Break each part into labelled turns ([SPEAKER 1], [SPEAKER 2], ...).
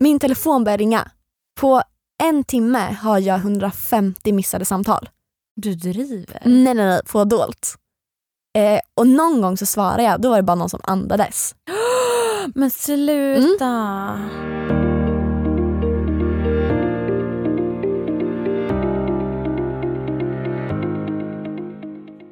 [SPEAKER 1] Min telefon börjar ringa. På en timme har jag 150 missade samtal.
[SPEAKER 2] Du driver?
[SPEAKER 1] Nej, nej, nej, på dolt. Eh, och någon gång så svarar jag, då var det bara någon som andades. Mm.
[SPEAKER 2] Men sluta!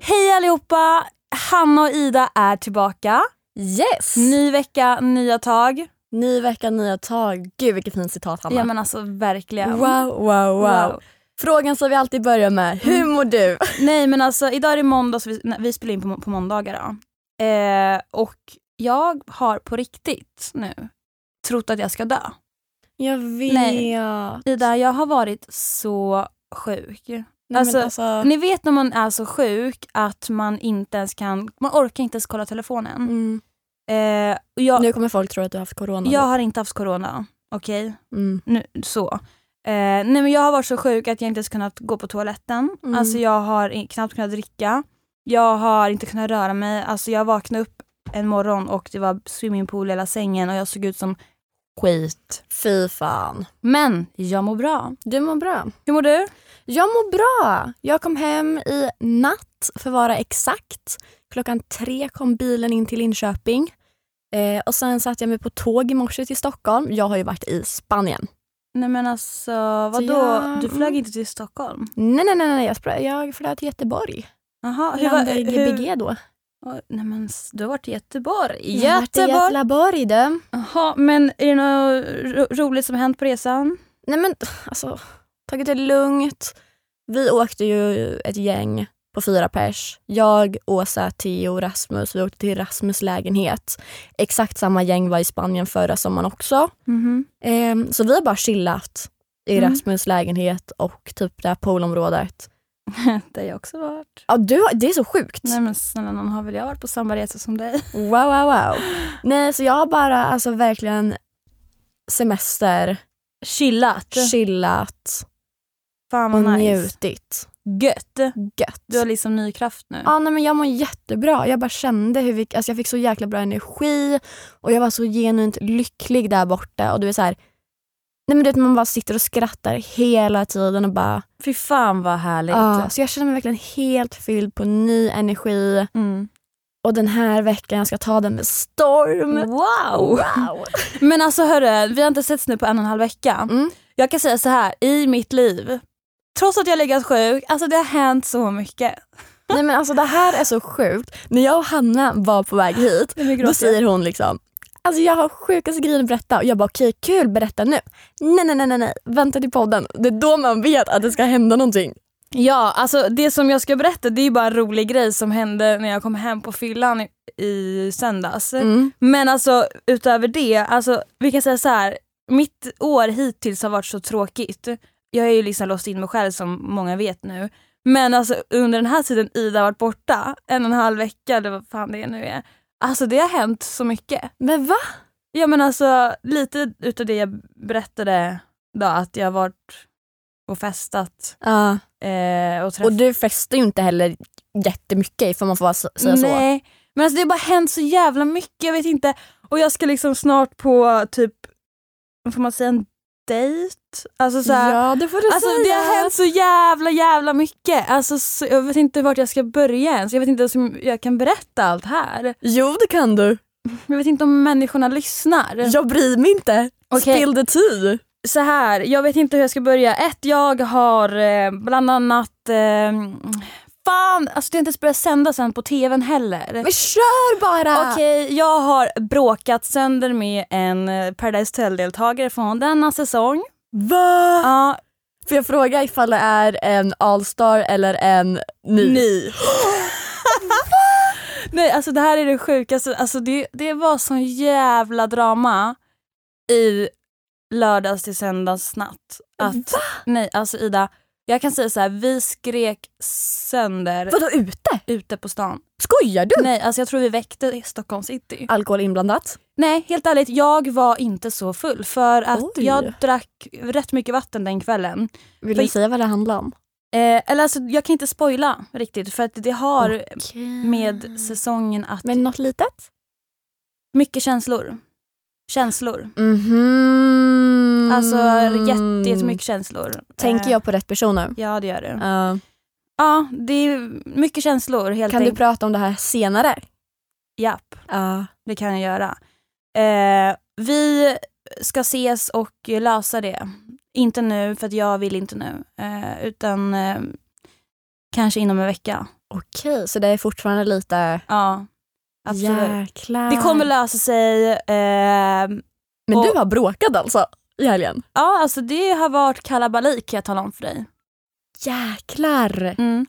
[SPEAKER 2] Hej allihopa! Hanna och Ida är tillbaka.
[SPEAKER 1] Yes! Ny,
[SPEAKER 2] Ny vecka, nya tag.
[SPEAKER 1] ny vecka, nya tag. Gud vilket fint citat Hanna.
[SPEAKER 2] Ja men alltså verkligen.
[SPEAKER 1] wow, wow, wow, Mm.
[SPEAKER 2] Wow.
[SPEAKER 1] Frågan som vi alltid börjar med, hur mår du?
[SPEAKER 2] Nej men alltså idag är det måndag så vi, nej, vi spelar in på, må- på måndagar då. Eh, och jag har på riktigt nu trott att jag ska dö.
[SPEAKER 1] Jag vet.
[SPEAKER 2] Nej.
[SPEAKER 1] Nej,
[SPEAKER 2] Ida, jag har varit så sjuk.
[SPEAKER 1] men
[SPEAKER 2] Alltså,
[SPEAKER 1] alltså-
[SPEAKER 2] Ni vet när man är så sjuk att man inte ens kan, man orkar inte ens kolla telefonen.
[SPEAKER 1] Mm.
[SPEAKER 2] Eh, och jag,
[SPEAKER 1] Nu kommer folk tro att du har haft corona.
[SPEAKER 2] jag har inte haft corona, okej?
[SPEAKER 1] Mm.
[SPEAKER 2] nu, så. Eh, nej men jag har varit så sjuk att jag inte ens kunnat gå på toaletten.
[SPEAKER 1] Mm.
[SPEAKER 2] Alltså jag har i- knappt kunnat dricka. Jag har inte kunnat röra mig. Alltså jag vaknade upp en morgon och det var swimmingpool i hela sängen och jag såg ut som skit.
[SPEAKER 1] Fy fan.
[SPEAKER 2] Men jag mår bra.
[SPEAKER 1] Du mår bra.
[SPEAKER 2] Hur mår du?
[SPEAKER 1] Jag mår bra. Jag kom hem i natt, för att vara exakt. Klockan tre kom bilen in till Linköping. Eh, och Sen satte jag mig på tåg i morse till Stockholm. Jag har ju varit i Spanien.
[SPEAKER 2] Nej men alltså vadå?
[SPEAKER 1] jag-
[SPEAKER 2] du flög
[SPEAKER 1] mm.
[SPEAKER 2] inte till Stockholm?
[SPEAKER 1] Nej, nej, nej. nej jag, spr- jag flög till Göteborg.
[SPEAKER 2] Jaha, hur var
[SPEAKER 1] Landade i
[SPEAKER 2] hur,
[SPEAKER 1] Gbg då.
[SPEAKER 2] Oj, Nej men s- du har varit i Göteborg.
[SPEAKER 1] Jag har varit i Göteborg, du.
[SPEAKER 2] Jaha, men är det något ro- roligt som har hänt på resan?
[SPEAKER 1] Nej, men alltså, tagit det lugnt. Vi åkte ju ett gäng på fyra pers. Jag, Åsa, Theo, Rasmus. Vi åkte till Rasmus lägenhet. Exakt samma gäng var i Spanien förra sommaren också.
[SPEAKER 2] Mhm.
[SPEAKER 1] Ehm, så vi har bara chillat i
[SPEAKER 2] Mm.
[SPEAKER 1] Rasmus lägenhet och typ det här poolområdet.
[SPEAKER 2] Där jag också varit.
[SPEAKER 1] Ja, du, har- det är så sjukt.
[SPEAKER 2] Nej men snälla någon har väl jag varit på samma resa som dig?
[SPEAKER 1] Wow, wow, wow. Nej, så jag har bara alltså verkligen semester,
[SPEAKER 2] Chillat.
[SPEAKER 1] chillat
[SPEAKER 2] Fan
[SPEAKER 1] och
[SPEAKER 2] vad nice.
[SPEAKER 1] njutit.
[SPEAKER 2] Gött.
[SPEAKER 1] Gött.
[SPEAKER 2] Du har liksom ny kraft nu.
[SPEAKER 1] Ja, nej, men jag mår jättebra. Jag bara kände hur vi, alltså jag fick så jäkla bra energi och jag var så genuint lycklig där borta. Och du är så här, nej, men du vet, Man bara sitter och skrattar hela tiden och bara...
[SPEAKER 2] Fy fan vad härligt.
[SPEAKER 1] Ja, så jag känner mig verkligen helt fylld på ny energi.
[SPEAKER 2] Mm.
[SPEAKER 1] Och den här veckan, jag ska ta den med storm.
[SPEAKER 2] Wow!
[SPEAKER 1] Wow.
[SPEAKER 2] Men alltså hörru, vi har inte setts nu på en och en halv vecka.
[SPEAKER 1] Mm.
[SPEAKER 2] Jag kan säga så här, i mitt liv, trots att jag legat sjuk, alltså det har hänt så mycket.
[SPEAKER 1] Nej men alltså det här är så sjukt. När jag och Hanna var på väg hit,
[SPEAKER 2] Nu
[SPEAKER 1] då
[SPEAKER 2] gråter jag.
[SPEAKER 1] säger hon liksom Alltså jag har sjukaste grejen att berätta och jag bara okej kul berätta nu. Nej nej nej nej nej vänta till podden. Det är då man vet att det ska hända någonting.
[SPEAKER 2] Ja, alltså det som jag ska berätta det är ju bara en rolig grej som hände när jag kom hem på fyllan i, i söndags.
[SPEAKER 1] Mm.
[SPEAKER 2] Men alltså utöver det, alltså, vi kan säga så här. mitt år hittills har varit så tråkigt. Jag är ju liksom låst in mig själv som många vet nu. Men alltså under den här tiden Ida har varit borta, en och en halv vecka eller vad fan det nu är. Alltså det har hänt så mycket.
[SPEAKER 1] Men va?
[SPEAKER 2] Ja men alltså lite utav det jag berättade då att jag har varit och festat
[SPEAKER 1] Ja.
[SPEAKER 2] eh, och träffat
[SPEAKER 1] Och du festar ju inte heller jättemycket får man få s- säga så.
[SPEAKER 2] Nej, men alltså det har bara hänt så jävla mycket. Jag vet inte. Och jag ska liksom snart på typ, får man säga en dejt? Alltså så här,
[SPEAKER 1] Ja det får du
[SPEAKER 2] Alltså
[SPEAKER 1] säga.
[SPEAKER 2] det har hänt så jävla jävla mycket. Alltså så, jag vet inte vart jag ska börja ens. Jag vet inte ens om jag kan berätta allt här.
[SPEAKER 1] Jo det kan du.
[SPEAKER 2] Jag vet inte om människorna lyssnar.
[SPEAKER 1] Jag bryr mig inte.
[SPEAKER 2] Okej.
[SPEAKER 1] Spill the tea.
[SPEAKER 2] Så här, jag vet inte hur jag ska börja. Ett, jag har eh, bland annat... Eh, fan, alltså det har inte ens börjat sända sen på tvn heller.
[SPEAKER 1] Men kör bara!
[SPEAKER 2] Okej, jag har bråkat sönder med en eh, Paradise Hotel-deltagare från denna säsong.
[SPEAKER 1] Va?
[SPEAKER 2] Ja,
[SPEAKER 1] Får jag fråga ifall det är en allstar eller en ny?
[SPEAKER 2] Ny. nej, alltså det här är det sjukaste. Alltså, det, det var sån jävla drama i lördags till söndags natt. Att,
[SPEAKER 1] Mm.
[SPEAKER 2] nej, alltså Ida, jag kan säga så här, vi skrek sönder
[SPEAKER 1] Vadå ute?
[SPEAKER 2] ute på stan.
[SPEAKER 1] Skojar du?
[SPEAKER 2] Nej, alltså jag tror vi väckte Stockholm city.
[SPEAKER 1] Alkohol inblandat?
[SPEAKER 2] Nej, helt ärligt, jag var inte så full för att
[SPEAKER 1] Oj.
[SPEAKER 2] jag drack rätt mycket vatten den kvällen.
[SPEAKER 1] Vill
[SPEAKER 2] För-
[SPEAKER 1] du säga vad det handlar om?
[SPEAKER 2] Eh, eller alltså, jag kan inte spoila riktigt för att det har
[SPEAKER 1] Mm.
[SPEAKER 2] med säsongen att...
[SPEAKER 1] Men något litet?
[SPEAKER 2] mycket känslor. Känslor.
[SPEAKER 1] Mhm.
[SPEAKER 2] Alltså jätte, jättemycket känslor.
[SPEAKER 1] Tänker
[SPEAKER 2] Eh,
[SPEAKER 1] jag på rätt person nu?
[SPEAKER 2] Ja det gör du.
[SPEAKER 1] Ja.
[SPEAKER 2] Ja det är mycket känslor helt
[SPEAKER 1] kan du
[SPEAKER 2] enkelt.
[SPEAKER 1] prata om det här senare?
[SPEAKER 2] Japp,
[SPEAKER 1] Ja.
[SPEAKER 2] det kan jag göra. Eh, vi ska ses och lösa det. Inte nu för att jag vill inte nu. Eh, utan eh, kanske inom en vecka.
[SPEAKER 1] Okej, så det är fortfarande lite...
[SPEAKER 2] Ja, absolut.
[SPEAKER 1] Jäklar.
[SPEAKER 2] Det kommer lösa sig. Eh,
[SPEAKER 1] Men du
[SPEAKER 2] och-
[SPEAKER 1] har bråkat alltså i helgen?
[SPEAKER 2] ja alltså det har varit kalabalik kan jag tala om för dig.
[SPEAKER 1] Jäklar.
[SPEAKER 2] Mm.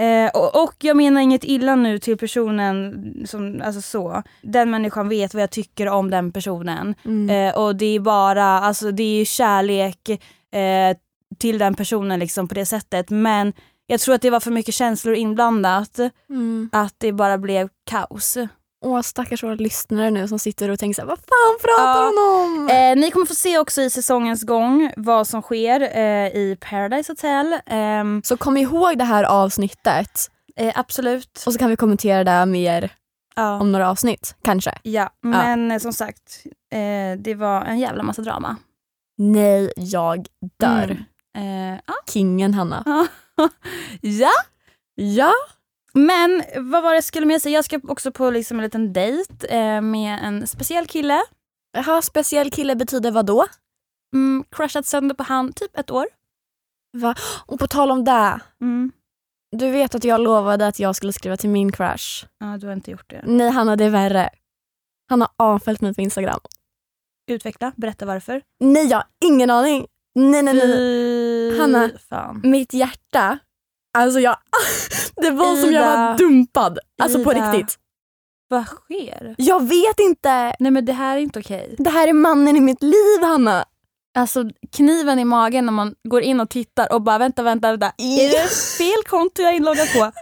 [SPEAKER 2] Eh, och, och jag menar inget illa nu till personen, som, alltså så. Den människan vet vad jag tycker om den personen.
[SPEAKER 1] Mm.
[SPEAKER 2] Eh, och det är bara, alltså det är ju kärlek eh, till den personen liksom på det sättet. Men jag tror att det var för mycket känslor inblandat,
[SPEAKER 1] Mm.
[SPEAKER 2] att det bara blev kaos.
[SPEAKER 1] Åh stackars våra lyssnare nu som sitter och tänker såhär, vad fan pratar
[SPEAKER 2] Ja.
[SPEAKER 1] hon om?
[SPEAKER 2] Eh, ni kommer få se också i säsongens gång vad som sker eh, i Paradise Hotel. Ehm,
[SPEAKER 1] Så kom ihåg det här avsnittet
[SPEAKER 2] eh, absolut.
[SPEAKER 1] och så kan vi kommentera det mer
[SPEAKER 2] Ja.
[SPEAKER 1] om några avsnitt, kanske.
[SPEAKER 2] Ja, men eh, som sagt, eh, det var en jävla massa drama.
[SPEAKER 1] Nej, jag dör.
[SPEAKER 2] Mm. Eh, ja.
[SPEAKER 1] Kingen Hanna.
[SPEAKER 2] ja,
[SPEAKER 1] Ja.
[SPEAKER 2] men vad var det jag skulle med säga? Jag ska också på liksom en liten dejt eh, med en speciell kille.
[SPEAKER 1] Jaha, speciell kille betyder vad då?
[SPEAKER 2] Mm, crushat sönder på han typ ett år.
[SPEAKER 1] Och på tal om det,
[SPEAKER 2] Mm.
[SPEAKER 1] du vet att jag lovade att jag skulle skriva till min crush.
[SPEAKER 2] Ja, du har inte gjort det.
[SPEAKER 1] Nej Hanna, det är värre. Han har avföljt mig på Instagram.
[SPEAKER 2] Utveckla, berätta varför.
[SPEAKER 1] Nej, jag har ingen aning. Nej, nej, nej. nej.
[SPEAKER 2] Fy
[SPEAKER 1] Hanna.
[SPEAKER 2] fan.
[SPEAKER 1] Mitt hjärta, alltså jag... det var som jag var
[SPEAKER 2] Ida.
[SPEAKER 1] dumpad. Alltså på
[SPEAKER 2] Ida.
[SPEAKER 1] riktigt.
[SPEAKER 2] Vad sker?
[SPEAKER 1] Jag vet inte.
[SPEAKER 2] Nej men det här är inte okej.
[SPEAKER 1] Det här är mannen i mitt liv, Hanna.
[SPEAKER 2] Alltså kniven i magen när man går in och tittar och bara vänta, vänta, vänta. Är det fel konto jag är inloggad på?
[SPEAKER 1] Nej,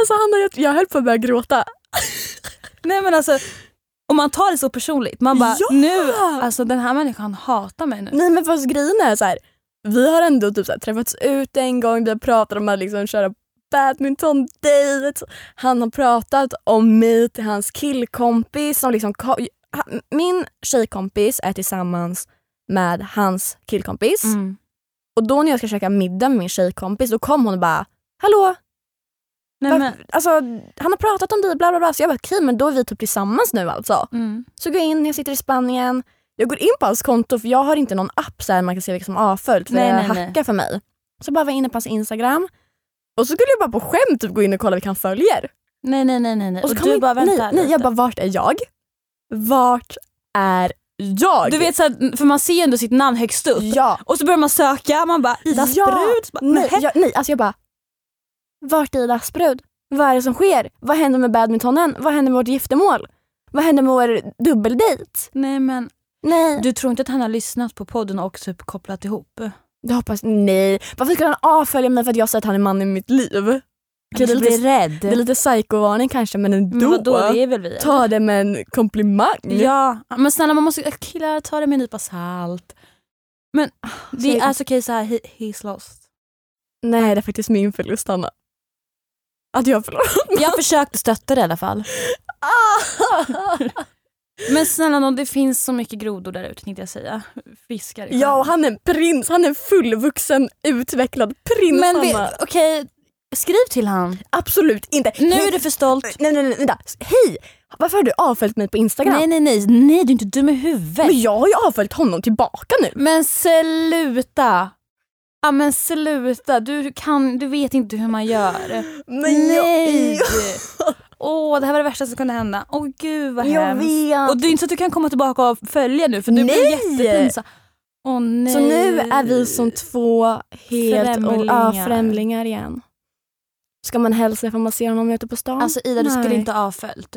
[SPEAKER 1] alltså Hanna, jag, jag höll på att börja gråta.
[SPEAKER 2] Nej men alltså, om man tar det så personligt. Man bara,
[SPEAKER 1] Ja!
[SPEAKER 2] nu,
[SPEAKER 1] Ah.
[SPEAKER 2] alltså den här människan hatar mig nu.
[SPEAKER 1] Nej men fast grejen är så här. vi har ändå typ så här, träffats ut en gång, vi har pratat om att liksom köra badminton date. Han har pratat om mig till hans killkompis. Som liksom, ko- han- min tjejkompis är tillsammans med hans killkompis.
[SPEAKER 2] Mm.
[SPEAKER 1] Och då när jag ska käka middag med min tjejkompis då kom hon och bara “Hallå,
[SPEAKER 2] Nej,
[SPEAKER 1] var-
[SPEAKER 2] men,
[SPEAKER 1] alltså, han har pratat om dig, bla bla bla”. Så jag bara “Okej, men då är vi typ tillsammans nu alltså”.
[SPEAKER 2] mm.
[SPEAKER 1] Så går jag in, jag sitter i Spanien. Jag går in på hans konto för jag har inte någon app så här man kan se vilka som har avföljt för
[SPEAKER 2] Nej,
[SPEAKER 1] det
[SPEAKER 2] nej, nej.
[SPEAKER 1] hackar för mig. Så bara var jag inne på hans Instagram och så skulle jag bara på skämt typ gå in och kolla vilka han följer.
[SPEAKER 2] nej, nej, nej, nej. nej.
[SPEAKER 1] så
[SPEAKER 2] Och
[SPEAKER 1] kan
[SPEAKER 2] du
[SPEAKER 1] man-
[SPEAKER 2] bara vänta
[SPEAKER 1] nej, nej, jag
[SPEAKER 2] lite.
[SPEAKER 1] bara vart är jag? Vart är jag?
[SPEAKER 2] Du vet så här, för man ser ju ändå sitt namn högst upp.
[SPEAKER 1] Ja.
[SPEAKER 2] Och så börjar man söka, man bara Idas
[SPEAKER 1] Ja.
[SPEAKER 2] brud. Så Bara,
[SPEAKER 1] Nej, jag, nej, alltså jag bara vart är Ida Asprud? Vad är det som sker? Vad händer med badmintonen? Vad händer med vårt giftermål? Vad händer med vår dubbeldejt?
[SPEAKER 2] nej men
[SPEAKER 1] Nej.
[SPEAKER 2] du tror inte att han har lyssnat på podden och typ kopplat ihop?
[SPEAKER 1] Jag hoppas, nej. Varför skulle han avfölja mig för att jag säger att han är man i mitt liv?
[SPEAKER 2] Du
[SPEAKER 1] det är
[SPEAKER 2] blir
[SPEAKER 1] lite-
[SPEAKER 2] rädd.
[SPEAKER 1] Det är lite psykovarning kanske men ändå.
[SPEAKER 2] men vadå, det är väl vi?
[SPEAKER 1] Ta det med en komplimang.
[SPEAKER 2] Ja, men snälla man måste, killar ta det med en nypa salt. Men
[SPEAKER 1] Ah,
[SPEAKER 2] det
[SPEAKER 1] Så-
[SPEAKER 2] är så okej så här, he, he's lost.
[SPEAKER 1] Nej det är faktiskt min förlust Hanna. Att jag förlorar.
[SPEAKER 2] Jag försökte stötta det i alla fall. Men snälla nån, det finns så mycket grodor där ute tänkte jag säga. Fiskar i sjön.
[SPEAKER 1] ja och han är en prins, han är en fullvuxen utvecklad prins
[SPEAKER 2] Men vi-
[SPEAKER 1] Hanna.
[SPEAKER 2] okej, skriv till han.
[SPEAKER 1] Absolut inte.
[SPEAKER 2] Nu
[SPEAKER 1] Nej,
[SPEAKER 2] är du för stolt.
[SPEAKER 1] Nej nej nej vänta. Hej! Varför har du avföljt mig på Instagram?
[SPEAKER 2] Nej nej nej, nej du är inte dum i huvudet.
[SPEAKER 1] Men
[SPEAKER 2] Men,
[SPEAKER 1] jag har ju avföljt honom tillbaka nu.
[SPEAKER 2] sluta. Ja men sluta, du, kan, du vet inte hur man gör.
[SPEAKER 1] Men
[SPEAKER 2] Nej!
[SPEAKER 1] Jag,
[SPEAKER 2] Åh, det här var det värsta som kunde hända. Åh gud vad
[SPEAKER 1] jag, jag
[SPEAKER 2] hemskt.
[SPEAKER 1] vet.
[SPEAKER 2] Och det är inte så att du kan komma tillbaka och följa nu för du blir
[SPEAKER 1] Nej!
[SPEAKER 2] jättepinsam. Åh nej.
[SPEAKER 1] Så nu är vi som två helt
[SPEAKER 2] Främlingar.
[SPEAKER 1] främlingar, ja, främlingar igen. Ska man hälsa för man ser honom ute på stan?
[SPEAKER 2] Alltså Ida, du skulle
[SPEAKER 1] Nej.
[SPEAKER 2] inte ha avföljt.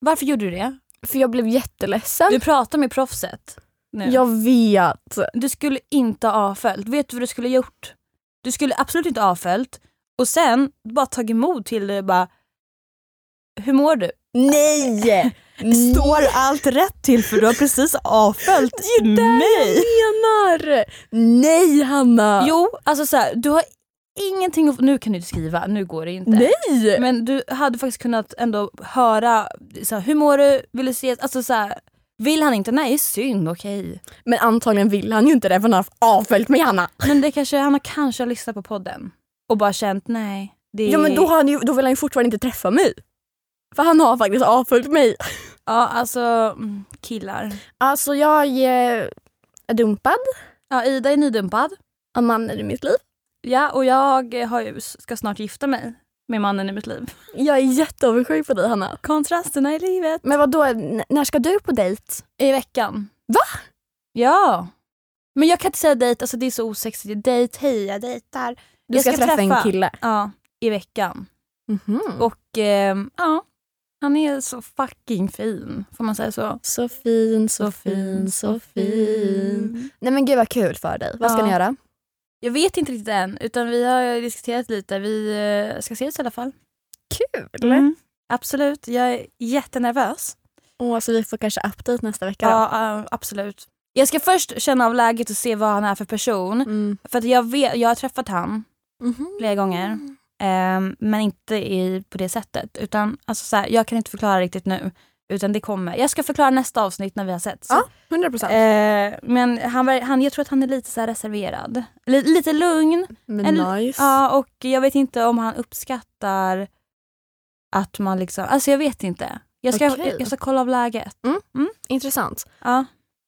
[SPEAKER 2] Varför gjorde du det?
[SPEAKER 1] För jag blev jätteledsen.
[SPEAKER 2] Du pratar med proffset nu.
[SPEAKER 1] Jag vet.
[SPEAKER 2] Du skulle inte ha avföljt. Vet du vad du skulle ha gjort? Du skulle absolut inte ha avföljt och sen bara tagit mod till det och bara hur mår du?
[SPEAKER 1] Nej!
[SPEAKER 2] allt rätt till för du har precis avföljt mig?
[SPEAKER 1] menar! Nej Hanna!
[SPEAKER 2] Jo, alltså så här, du har ingenting att... Nu kan du inte skriva, nu går det inte.
[SPEAKER 1] Nej!
[SPEAKER 2] Men du hade faktiskt kunnat ändå höra, så här, hur mår du, vill du ses? Alltså så här, Vill han inte? Nej, synd, okej.
[SPEAKER 1] Men antagligen vill han ju inte det för han har avföljt mig Hanna.
[SPEAKER 2] Men det kanske, han har kanske har lyssnat på podden och bara känt nej. Det är...
[SPEAKER 1] Ja men då, har han ju, då vill han ju fortfarande inte träffa mig. För han har faktiskt avföljt mig.
[SPEAKER 2] Ja, alltså mm, killar.
[SPEAKER 1] Alltså jag eh, är dumpad
[SPEAKER 2] Ja, Ida är nydumpad.
[SPEAKER 1] av mannen i mitt liv.
[SPEAKER 2] Ja, och jag har ju, ska snart gifta mig med mannen i mitt liv.
[SPEAKER 1] Jag är jätteavundsjuk på dig Hanna.
[SPEAKER 2] Kontrasterna i livet.
[SPEAKER 1] Men vad då? när ska du på dejt?
[SPEAKER 2] I veckan. Va? Ja. Men jag kan inte säga dejt, alltså det är så osexigt. Dejt, hej jag dejtar.
[SPEAKER 1] Du ska, träffa, en kille. Mhm.
[SPEAKER 2] Ja, i veckan. Och ehm, ja, han är så fucking fin. Får man säga så?
[SPEAKER 1] Så fin, så fin, så fin. Nej men gud vad kul för dig. Vad ska
[SPEAKER 2] Ja.
[SPEAKER 1] ni göra?
[SPEAKER 2] Jag vet inte riktigt än, utan vi har diskuterat lite. Vi eh, ska ses i alla fall.
[SPEAKER 1] Kul!
[SPEAKER 2] Absolut, jag är jättenervös.
[SPEAKER 1] Åh, så vi får kanske update nästa vecka då.
[SPEAKER 2] Ja, ja, absolut. Jag ska först känna av läget och se vad han är för person.
[SPEAKER 1] Mm.
[SPEAKER 2] För att jag, vet, jag har träffat han
[SPEAKER 1] Mhm.
[SPEAKER 2] flera gånger. Ehm, men inte i, på det sättet. Utan, alltså, så här, jag kan inte förklara riktigt nu. Utan det kommer. Jag ska förklara nästa avsnitt när vi har sett.
[SPEAKER 1] Ja, 100 procent.
[SPEAKER 2] men han, ver- han, jag tror att han är lite så här reserverad. Li- lite lugn.
[SPEAKER 1] Men
[SPEAKER 2] en-
[SPEAKER 1] nice.
[SPEAKER 2] Ja, och jag vet inte om han uppskattar att man liksom... Alltså jag vet inte. Jag ska,
[SPEAKER 1] Okej.
[SPEAKER 2] jag, jag ska kolla av läget.
[SPEAKER 1] Intressant.
[SPEAKER 2] Ja.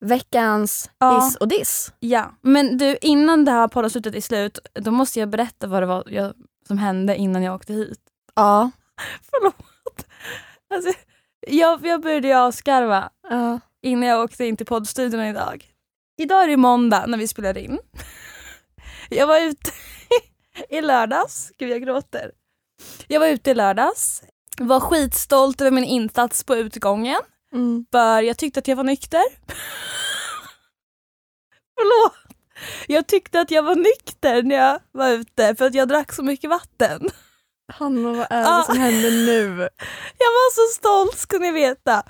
[SPEAKER 1] Veckans
[SPEAKER 2] Ja.
[SPEAKER 1] is och diss.
[SPEAKER 2] ja. Men du, innan det här poddavslutet är slut, då måste jag berätta vad det var jag, som hände innan jag åkte hit.
[SPEAKER 1] Ja.
[SPEAKER 2] Förlåt. Alltså, jag, jag började ju avskarva
[SPEAKER 1] ja.
[SPEAKER 2] innan jag åkte in till poddstudion idag. Idag är det måndag när vi spelar in. Jag var ute i lördags, gud jag gråter. Jag var ute i lördags, var skitstolt över min insats på utgången
[SPEAKER 1] Mm.
[SPEAKER 2] för jag tyckte att jag var nykter. Förlåt! Jag tyckte att jag var nykter när jag var ute för att jag drack så mycket vatten.
[SPEAKER 1] Hanna, vad är det
[SPEAKER 2] Ja.
[SPEAKER 1] som händer nu?
[SPEAKER 2] Ah. Jag var så stolt ska ni veta.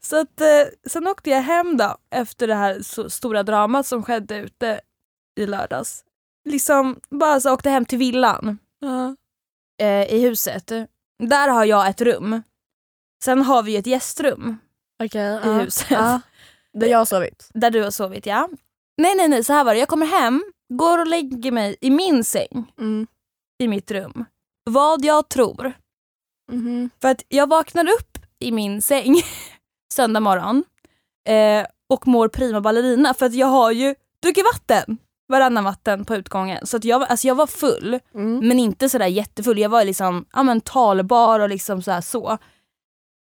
[SPEAKER 2] Så att, eh, sen åkte jag hem då efter det här så stora dramat som skedde ute i lördags. Liksom bara så åkte hem till villan eh, i huset. Där har jag ett rum. Sen har vi ju ett gästrum
[SPEAKER 1] Okej.
[SPEAKER 2] i
[SPEAKER 1] ja.
[SPEAKER 2] huset
[SPEAKER 1] Ja. Där jag har sovit.
[SPEAKER 2] där du har sovit ja. Nej nej nej så här var det, jag kommer hem, går och lägger mig i min säng
[SPEAKER 1] Mm.
[SPEAKER 2] i mitt rum. Vad jag tror.
[SPEAKER 1] Mhm.
[SPEAKER 2] För att jag vaknar upp i min säng söndag morgon eh, och mår prima ballerina för att jag har ju druckit vatten varannan vatten på utgången. Så att jag, var- alltså jag var full,
[SPEAKER 1] Mm.
[SPEAKER 2] men inte sådär jättefull. Jag var liksom ja, men talbar och liksom sådär så.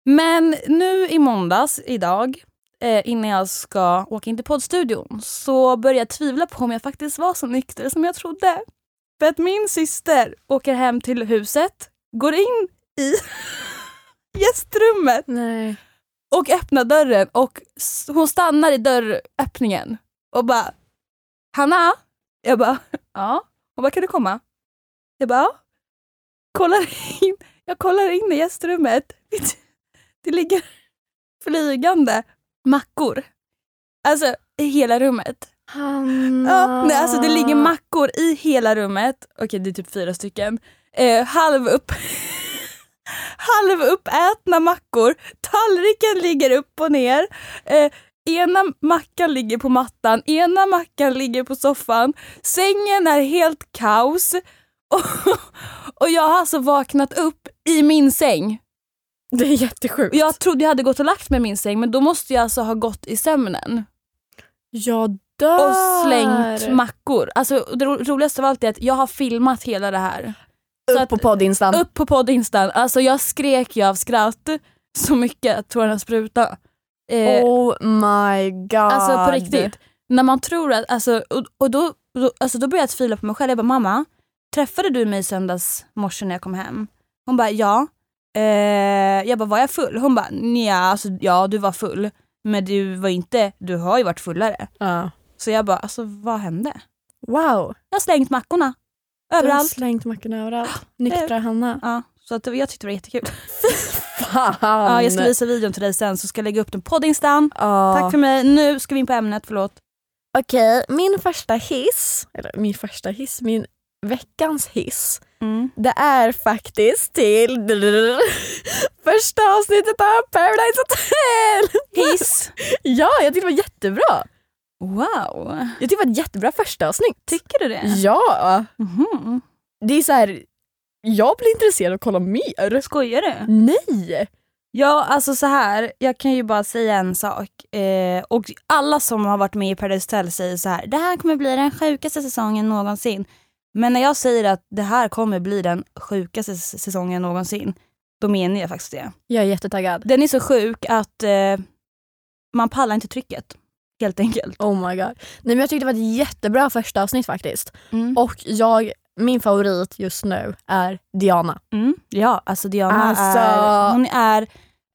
[SPEAKER 2] Men nu i måndags, idag, eh, innan jag ska åka in till poddstudion så började jag tvivla på om jag faktiskt var så nykter som jag trodde. För att min syster åker hem till huset, går in i gästrummet
[SPEAKER 1] Nej.
[SPEAKER 2] och öppnar dörren och s- hon stannar i dörröppningen och bara Hanna? Jag bara ja. Hon bara kan du komma? Jag bara ja. Kollar in, jag kollar in i gästrummet. Det- Det ligger flygande mackor. Alltså i hela rummet.
[SPEAKER 1] Hanna.
[SPEAKER 2] Ja, nej, alltså det ligger mackor i hela rummet. Okej det är typ fyra stycken. Eh, halv upp. halv uppätna mackor. Tallriken ligger upp och ner. Eh, ena mackan ligger på mattan, ena mackan ligger på soffan. Sängen är helt kaos. Och, och jag har alltså vaknat upp i min säng.
[SPEAKER 1] Det är jättesjukt.
[SPEAKER 2] Jag trodde jag hade gått och lagt mig i min säng men då måste jag alltså ha gått i sömnen
[SPEAKER 1] Jag dör.
[SPEAKER 2] och slängt mackor. Alltså, det ro- roligaste av allt är att jag har filmat hela det här. så att-
[SPEAKER 1] Upp på poddinstan.
[SPEAKER 2] Upp på poddinstan, alltså jag skrek ju av skratt så mycket att tårarna sprutade. Eh,
[SPEAKER 1] Oh my god.
[SPEAKER 2] alltså på riktigt. När man tror att, alltså, och, och då, då, alltså, då började jag tvivla på mig själv. Jag bara mamma, träffade du mig i söndags morse när jag kom hem? Hon bara ja. Eh, jag bara var jag full? Hon bara nja, alltså, ja du var full. Men du var inte, du har ju varit fullare.
[SPEAKER 1] Ja.
[SPEAKER 2] Så jag bara alltså vad hände?
[SPEAKER 1] Wow.
[SPEAKER 2] Jag har slängt mackorna.
[SPEAKER 1] Du har
[SPEAKER 2] Överallt.
[SPEAKER 1] slängt mackorna överallt. Nyktra Hanna.
[SPEAKER 2] Ja, så att det- jag tyckte det var jättekul.
[SPEAKER 1] Fan.
[SPEAKER 2] Ja, jag ska visa videon till dig sen så ska jag lägga upp den på din stan.
[SPEAKER 1] Ja.
[SPEAKER 2] Tack för mig. Nu ska vi in på ämnet, förlåt.
[SPEAKER 1] Okej, min första hiss, eller min första hiss, min veckans hiss
[SPEAKER 2] Mm.
[SPEAKER 1] det är faktiskt till första avsnittet av Paradise Hotel!
[SPEAKER 2] Hiss!
[SPEAKER 1] Ja, jag tyckte det var jättebra.
[SPEAKER 2] Wow!
[SPEAKER 1] Jag tyckte det var ett jättebra första avsnitt.
[SPEAKER 2] Tycker du det?
[SPEAKER 1] Ja,
[SPEAKER 2] Mhm.
[SPEAKER 1] det är så här. jag blir intresserad av att kolla mer.
[SPEAKER 2] Skojar du?
[SPEAKER 1] Nej!
[SPEAKER 2] Ja, alltså så här. Jag kan ju bara säga en sak. Eh, och alla som har varit med i Paradise Hotel säger så här. Det här kommer bli den sjukaste säsongen någonsin. Men när jag säger att det här kommer bli den sjukaste s- säsongen någonsin, då menar jag faktiskt det.
[SPEAKER 1] Jag är jättetaggad.
[SPEAKER 2] Den är så sjuk att eh, man pallar inte trycket, helt enkelt.
[SPEAKER 1] Oh my god. Nej men jag tyckte det var ett jättebra första avsnitt faktiskt.
[SPEAKER 2] Mm.
[SPEAKER 1] Och jag, min favorit just nu är Diana.
[SPEAKER 2] Mm. Ja, alltså Diana
[SPEAKER 1] Alltså.
[SPEAKER 2] är, Eh, hon är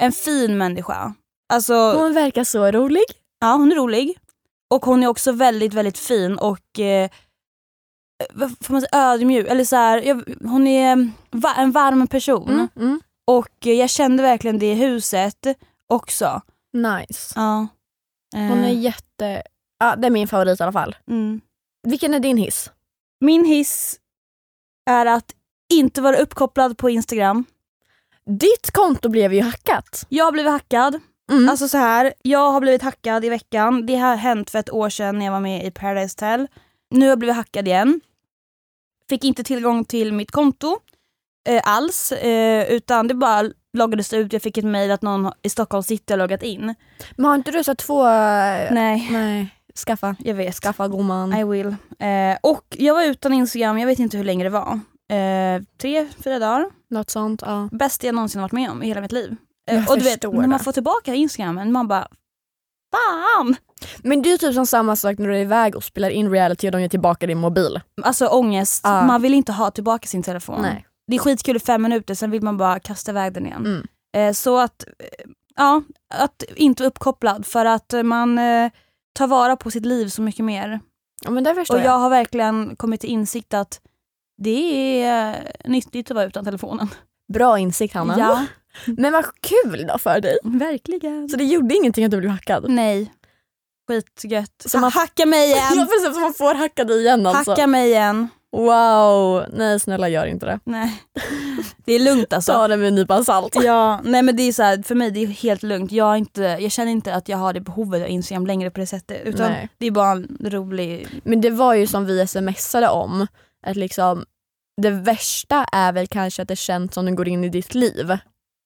[SPEAKER 2] en fin människa. Alltså,
[SPEAKER 1] Hon verkar så rolig.
[SPEAKER 2] Ja, hon är rolig. Och hon är också väldigt, väldigt fin och eh, vad får man säga, ödmjuk. Eller så här, jag, hon är eh, va- en varm person.
[SPEAKER 1] Mm. Mm.
[SPEAKER 2] Och eh, jag kände verkligen det i huset också.
[SPEAKER 1] Nice.
[SPEAKER 2] Ja. Eh,
[SPEAKER 1] Hon är jätte... Ja, det är min favorit i alla fall.
[SPEAKER 2] mm.
[SPEAKER 1] Vilken är din hiss?
[SPEAKER 2] Min hiss är att inte vara uppkopplad på Instagram.
[SPEAKER 1] Ditt konto blev ju hackat.
[SPEAKER 2] Jag har blivit hackad.
[SPEAKER 1] Mm.
[SPEAKER 2] Alltså så här, jag har blivit hackad i veckan. Det har hänt för ett år sedan när jag var med i Paradise Hotel. Nu har jag blivit hackad igen. Fick inte tillgång till mitt konto eh, alls, eh, utan det bara loggades ut. Jag fick ett mejl att någon i Stockholm city har loggat in.
[SPEAKER 1] Men har inte du så två... eh, Nej.
[SPEAKER 2] Nej,
[SPEAKER 1] Skaffa.
[SPEAKER 2] jag vet.
[SPEAKER 1] Skaffa gumman.
[SPEAKER 2] I will. Eh, och jag var utan Instagram, jag vet inte hur länge det var. Eh, tre, fyra dagar.
[SPEAKER 1] Något sånt. Ja.
[SPEAKER 2] Bästa jag någonsin varit med om i hela mitt liv. Eh,
[SPEAKER 1] Jag
[SPEAKER 2] och du vet,
[SPEAKER 1] förstår
[SPEAKER 2] när man
[SPEAKER 1] det.
[SPEAKER 2] får tillbaka Instagramen, man bara Fan!
[SPEAKER 1] Men det är typ som samma sak när du är iväg och spelar in reality och de ger tillbaka din mobil.
[SPEAKER 2] Alltså ångest,
[SPEAKER 1] Ja.
[SPEAKER 2] man vill inte ha tillbaka sin telefon. Det är skitkul i fem minuter, sen vill man bara kasta iväg den igen.
[SPEAKER 1] Mm.
[SPEAKER 2] Eh, så att, eh, ja, att inte vara uppkopplad för att eh, man eh, tar vara på sitt liv så mycket mer.
[SPEAKER 1] Ja, men det förstår
[SPEAKER 2] Och
[SPEAKER 1] jag.
[SPEAKER 2] jag har verkligen kommit till insikt att det är eh, nyttigt att vara utan telefonen.
[SPEAKER 1] Bra insikt Hanna.
[SPEAKER 2] Ja,
[SPEAKER 1] Men vad kul då för dig.
[SPEAKER 2] verkligen.
[SPEAKER 1] Så det gjorde ingenting att du blev hackad?
[SPEAKER 2] Nej, skitgött.
[SPEAKER 1] Så man-
[SPEAKER 2] Ha- hacka mig
[SPEAKER 1] Ja
[SPEAKER 2] igen!
[SPEAKER 1] precis, så man får hacka dig igen alltså.
[SPEAKER 2] Hacka mig igen.
[SPEAKER 1] Wow, nej snälla gör inte det.
[SPEAKER 2] Nej. Det är lugnt alltså.
[SPEAKER 1] Ta det med en nypa salt.
[SPEAKER 2] Ja, nej men det är så här, för mig det är helt lugnt. Jag, är inte, jag känner inte att jag har det behovet av Instagram längre på det sättet. Utan
[SPEAKER 1] Nej.
[SPEAKER 2] det är bara en rolig...
[SPEAKER 1] Men det var ju som vi smsade om, att liksom det värsta är väl kanske att det känns som den går in i ditt liv.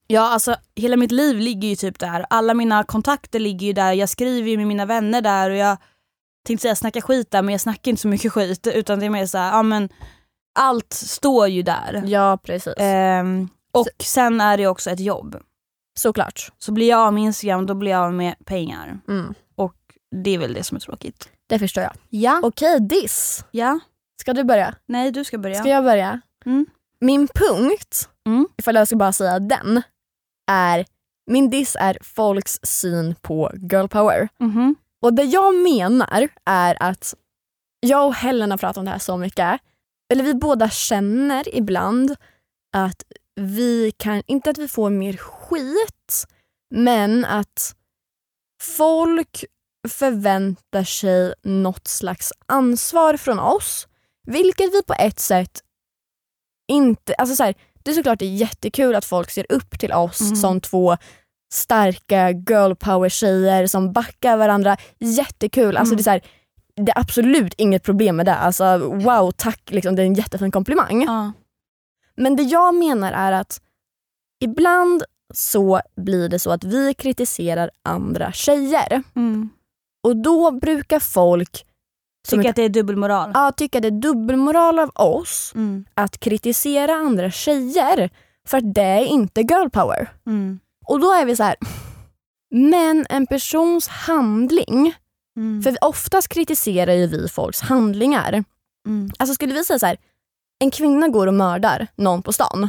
[SPEAKER 2] Ja alltså hela mitt liv ligger ju typ där. Alla mina kontakter ligger ju där. Jag skriver ju med mina vänner där och jag tänkte säga snacka skit där men jag snackar inte så mycket skit utan det är mer så här, ja men allt står ju där.
[SPEAKER 1] Ja Eh. precis.
[SPEAKER 2] Ehm, och sen är det ju också ett jobb.
[SPEAKER 1] Såklart.
[SPEAKER 2] Så blir jag av med Instagram då blir jag av med pengar.
[SPEAKER 1] Mm.
[SPEAKER 2] Och det är väl det som är tråkigt.
[SPEAKER 1] Det förstår jag.
[SPEAKER 2] Ja.
[SPEAKER 1] Okej diss.
[SPEAKER 2] Ja.
[SPEAKER 1] Ska du börja?
[SPEAKER 2] Nej du ska börja.
[SPEAKER 1] Ska jag börja?
[SPEAKER 2] Mm.
[SPEAKER 1] Min punkt,
[SPEAKER 2] Mm.
[SPEAKER 1] ifall jag ska bara säga den, är min diss är folks syn på girl power.
[SPEAKER 2] Mhm.
[SPEAKER 1] Och det jag menar är att jag och Helen har pratat om det här så mycket. Eller vi båda känner ibland att vi kan, inte att vi får mer skit, men att folk förväntar sig något slags ansvar från oss. Vilket vi på ett sätt inte... Alltså så här, det är såklart det är jättekul att folk ser upp till oss
[SPEAKER 2] Mm.
[SPEAKER 1] som två starka girl power tjejer som backar varandra. Jättekul. Alltså
[SPEAKER 2] Mm.
[SPEAKER 1] det, är så här, det är absolut inget problem med det. Alltså, wow, tack. Liksom, det är en jättefin komplimang.
[SPEAKER 2] Ja.
[SPEAKER 1] Men det jag menar är att ibland så blir det så att vi kritiserar andra tjejer.
[SPEAKER 2] Mm.
[SPEAKER 1] Och då brukar folk som
[SPEAKER 2] Tycker
[SPEAKER 1] ett,
[SPEAKER 2] att det är dubbelmoral.
[SPEAKER 1] ja, tycka det är dubbelmoral av oss
[SPEAKER 2] Mm.
[SPEAKER 1] att kritisera andra tjejer för att det är inte girl power.
[SPEAKER 2] Mm.
[SPEAKER 1] Och då är vi så här. Men en persons handling,
[SPEAKER 2] Mm.
[SPEAKER 1] för oftast kritiserar ju vi folks handlingar.
[SPEAKER 2] Mm.
[SPEAKER 1] Alltså skulle vi säga så här, en kvinna går och mördar någon på stan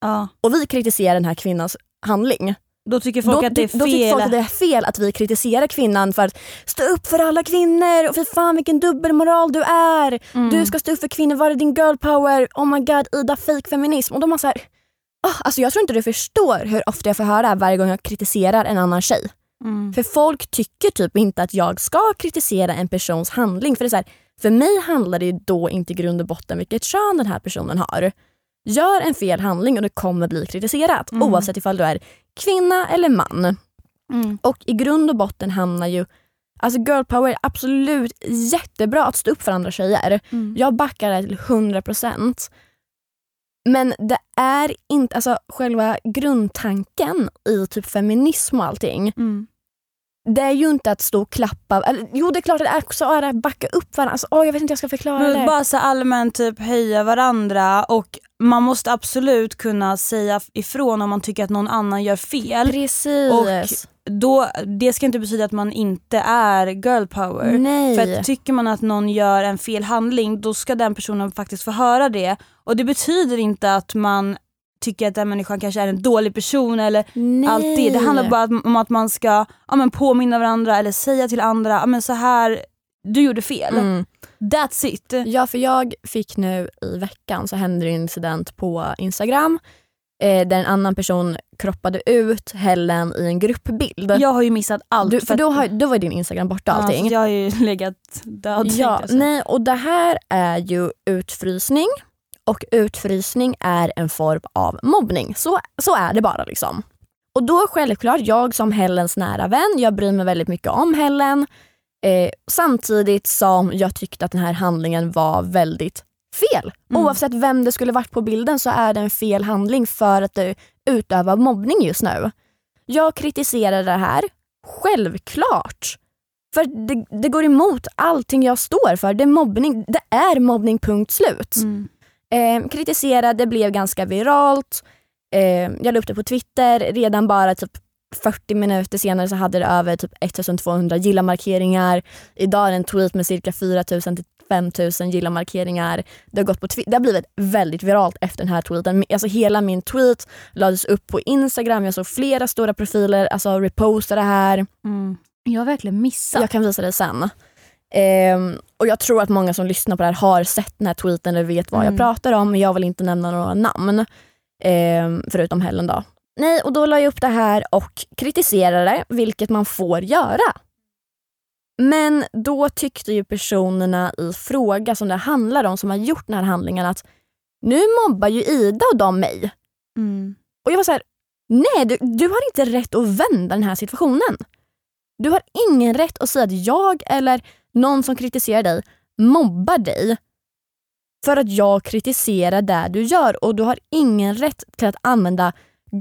[SPEAKER 2] Ja.
[SPEAKER 1] och vi kritiserar den här kvinnans handling.
[SPEAKER 2] Då tycker folk
[SPEAKER 1] då,
[SPEAKER 2] att det är
[SPEAKER 1] då tycker
[SPEAKER 2] fel.
[SPEAKER 1] folk att det är fel att vi kritiserar kvinnan för att stå upp för alla kvinnor och för fan vilken dubbelmoral du är.
[SPEAKER 2] Mm.
[SPEAKER 1] Du ska stå upp för kvinnor, var är din girl power? Oh my god, Ida fake feminism. Och de har så här, "Ah, alltså jag tror inte du förstår hur ofta jag får höra det här varje gång jag kritiserar en annan tjej.
[SPEAKER 2] Mm.
[SPEAKER 1] För folk tycker typ inte att jag ska kritisera en persons handling. För det är så här, för mig handlar det ju då inte i grund och botten vilket kön den här personen har. Gör en fel handling och det kommer bli kritiserat
[SPEAKER 2] Mm.
[SPEAKER 1] oavsett ifall du är kvinna eller man.
[SPEAKER 2] Mm.
[SPEAKER 1] Och i grund och botten hamnar ju Alltså girl power är absolut jättebra att stå upp för andra tjejer.
[SPEAKER 2] Mm.
[SPEAKER 1] Jag backar det till 100%. Men det är inte, alltså själva grundtanken i typ feminism och allting
[SPEAKER 2] Mm.
[SPEAKER 1] det är ju inte att stå och klappa. Eller, jo det är klart att det är också är att backa upp varandra. Alltså, åh, jag vet inte hur jag ska förklara
[SPEAKER 2] Men
[SPEAKER 1] det.
[SPEAKER 2] bara så allmänt typ höja varandra och man måste absolut kunna säga ifrån om man tycker att någon annan gör fel.
[SPEAKER 1] Precis.
[SPEAKER 2] Då, det ska inte betyda att man inte är girl power.
[SPEAKER 1] Nej.
[SPEAKER 2] För att tycker man att någon gör en fel handling då ska den personen faktiskt få höra det. Och det betyder inte att man tycker att den människan kanske är en dålig person eller
[SPEAKER 1] Nej.
[SPEAKER 2] allt det. Det handlar bara om att man ska ja, men påminna varandra eller säga till andra, ja, men så här, du gjorde fel.
[SPEAKER 1] Mm.
[SPEAKER 2] That's it.
[SPEAKER 1] Ja, för jag fick nu i veckan så hände det en incident på Instagram eh, där en annan person kroppade ut Helen i en gruppbild.
[SPEAKER 2] Jag har ju missat allt.
[SPEAKER 1] du, för
[SPEAKER 2] att-
[SPEAKER 1] då, har, då var din Instagram borta och allting.
[SPEAKER 2] Ja, så jag har ju legat död.
[SPEAKER 1] Ja,
[SPEAKER 2] tänkte jag säga.
[SPEAKER 1] nej, och det här är ju utfrysning och utfrysning är en form av mobbning. Så, så är det bara. liksom. Och då självklart, jag som Helens nära vän, jag bryr mig väldigt mycket om Helen eh, samtidigt som jag tyckte att den här handlingen var väldigt fel.
[SPEAKER 2] Mm.
[SPEAKER 1] Oavsett vem det skulle varit på bilden så är det en fel handling för att det utövar mobbning just nu. Jag kritiserar det här, självklart. För det, det går emot allting jag står för. Det är mobbning, det är mobbning punkt slut.
[SPEAKER 2] Mm.
[SPEAKER 1] Eh, kritiserade, blev ganska viralt. Eh, jag la upp det på Twitter. Redan bara typ 40 minuter senare så hade det över typ 1200 gilla-markeringar. Idag är det en tweet med cirka 4000 till 5000 gilla-markeringar. Det har, gått på Twi- det har blivit väldigt viralt efter den här tweeten. Alltså hela min tweet lades upp på Instagram. Jag såg flera stora profiler alltså reposta det här.
[SPEAKER 2] Mm. Jag har verkligen missat.
[SPEAKER 1] Jag kan visa dig sen. Ehm, och Jag tror att många som lyssnar på det här har sett den här tweeten eller vet vad
[SPEAKER 2] Mm.
[SPEAKER 1] jag pratar om. men Jag vill inte nämna några namn. Ehm, förutom Helen då. Nej, och då la jag upp det här och kritiserade, vilket man får göra. Men då tyckte ju personerna i fråga som det handlar om, som har gjort den här handlingen att nu mobbar ju Ida och de mig.
[SPEAKER 2] Mm.
[SPEAKER 1] Och jag var så här, nej du, du har inte rätt att vända den här situationen. Du har ingen rätt att säga att jag eller någon som kritiserar dig mobbar dig för att jag kritiserar det du gör och du har ingen rätt till att använda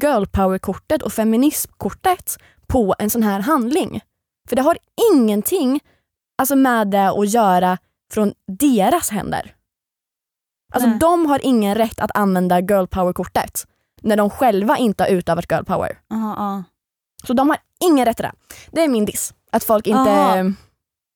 [SPEAKER 1] girl power-kortet och feminismkortet på en sån här handling. För det har ingenting alltså med det att göra från deras händer. Alltså
[SPEAKER 2] Nej.
[SPEAKER 1] de har ingen rätt att använda girl power-kortet när de själva inte har utövat girl power.
[SPEAKER 2] Aha, ja.
[SPEAKER 1] Så de har ingen rätt till det. Det är min diss. Att folk inte...
[SPEAKER 2] Aha.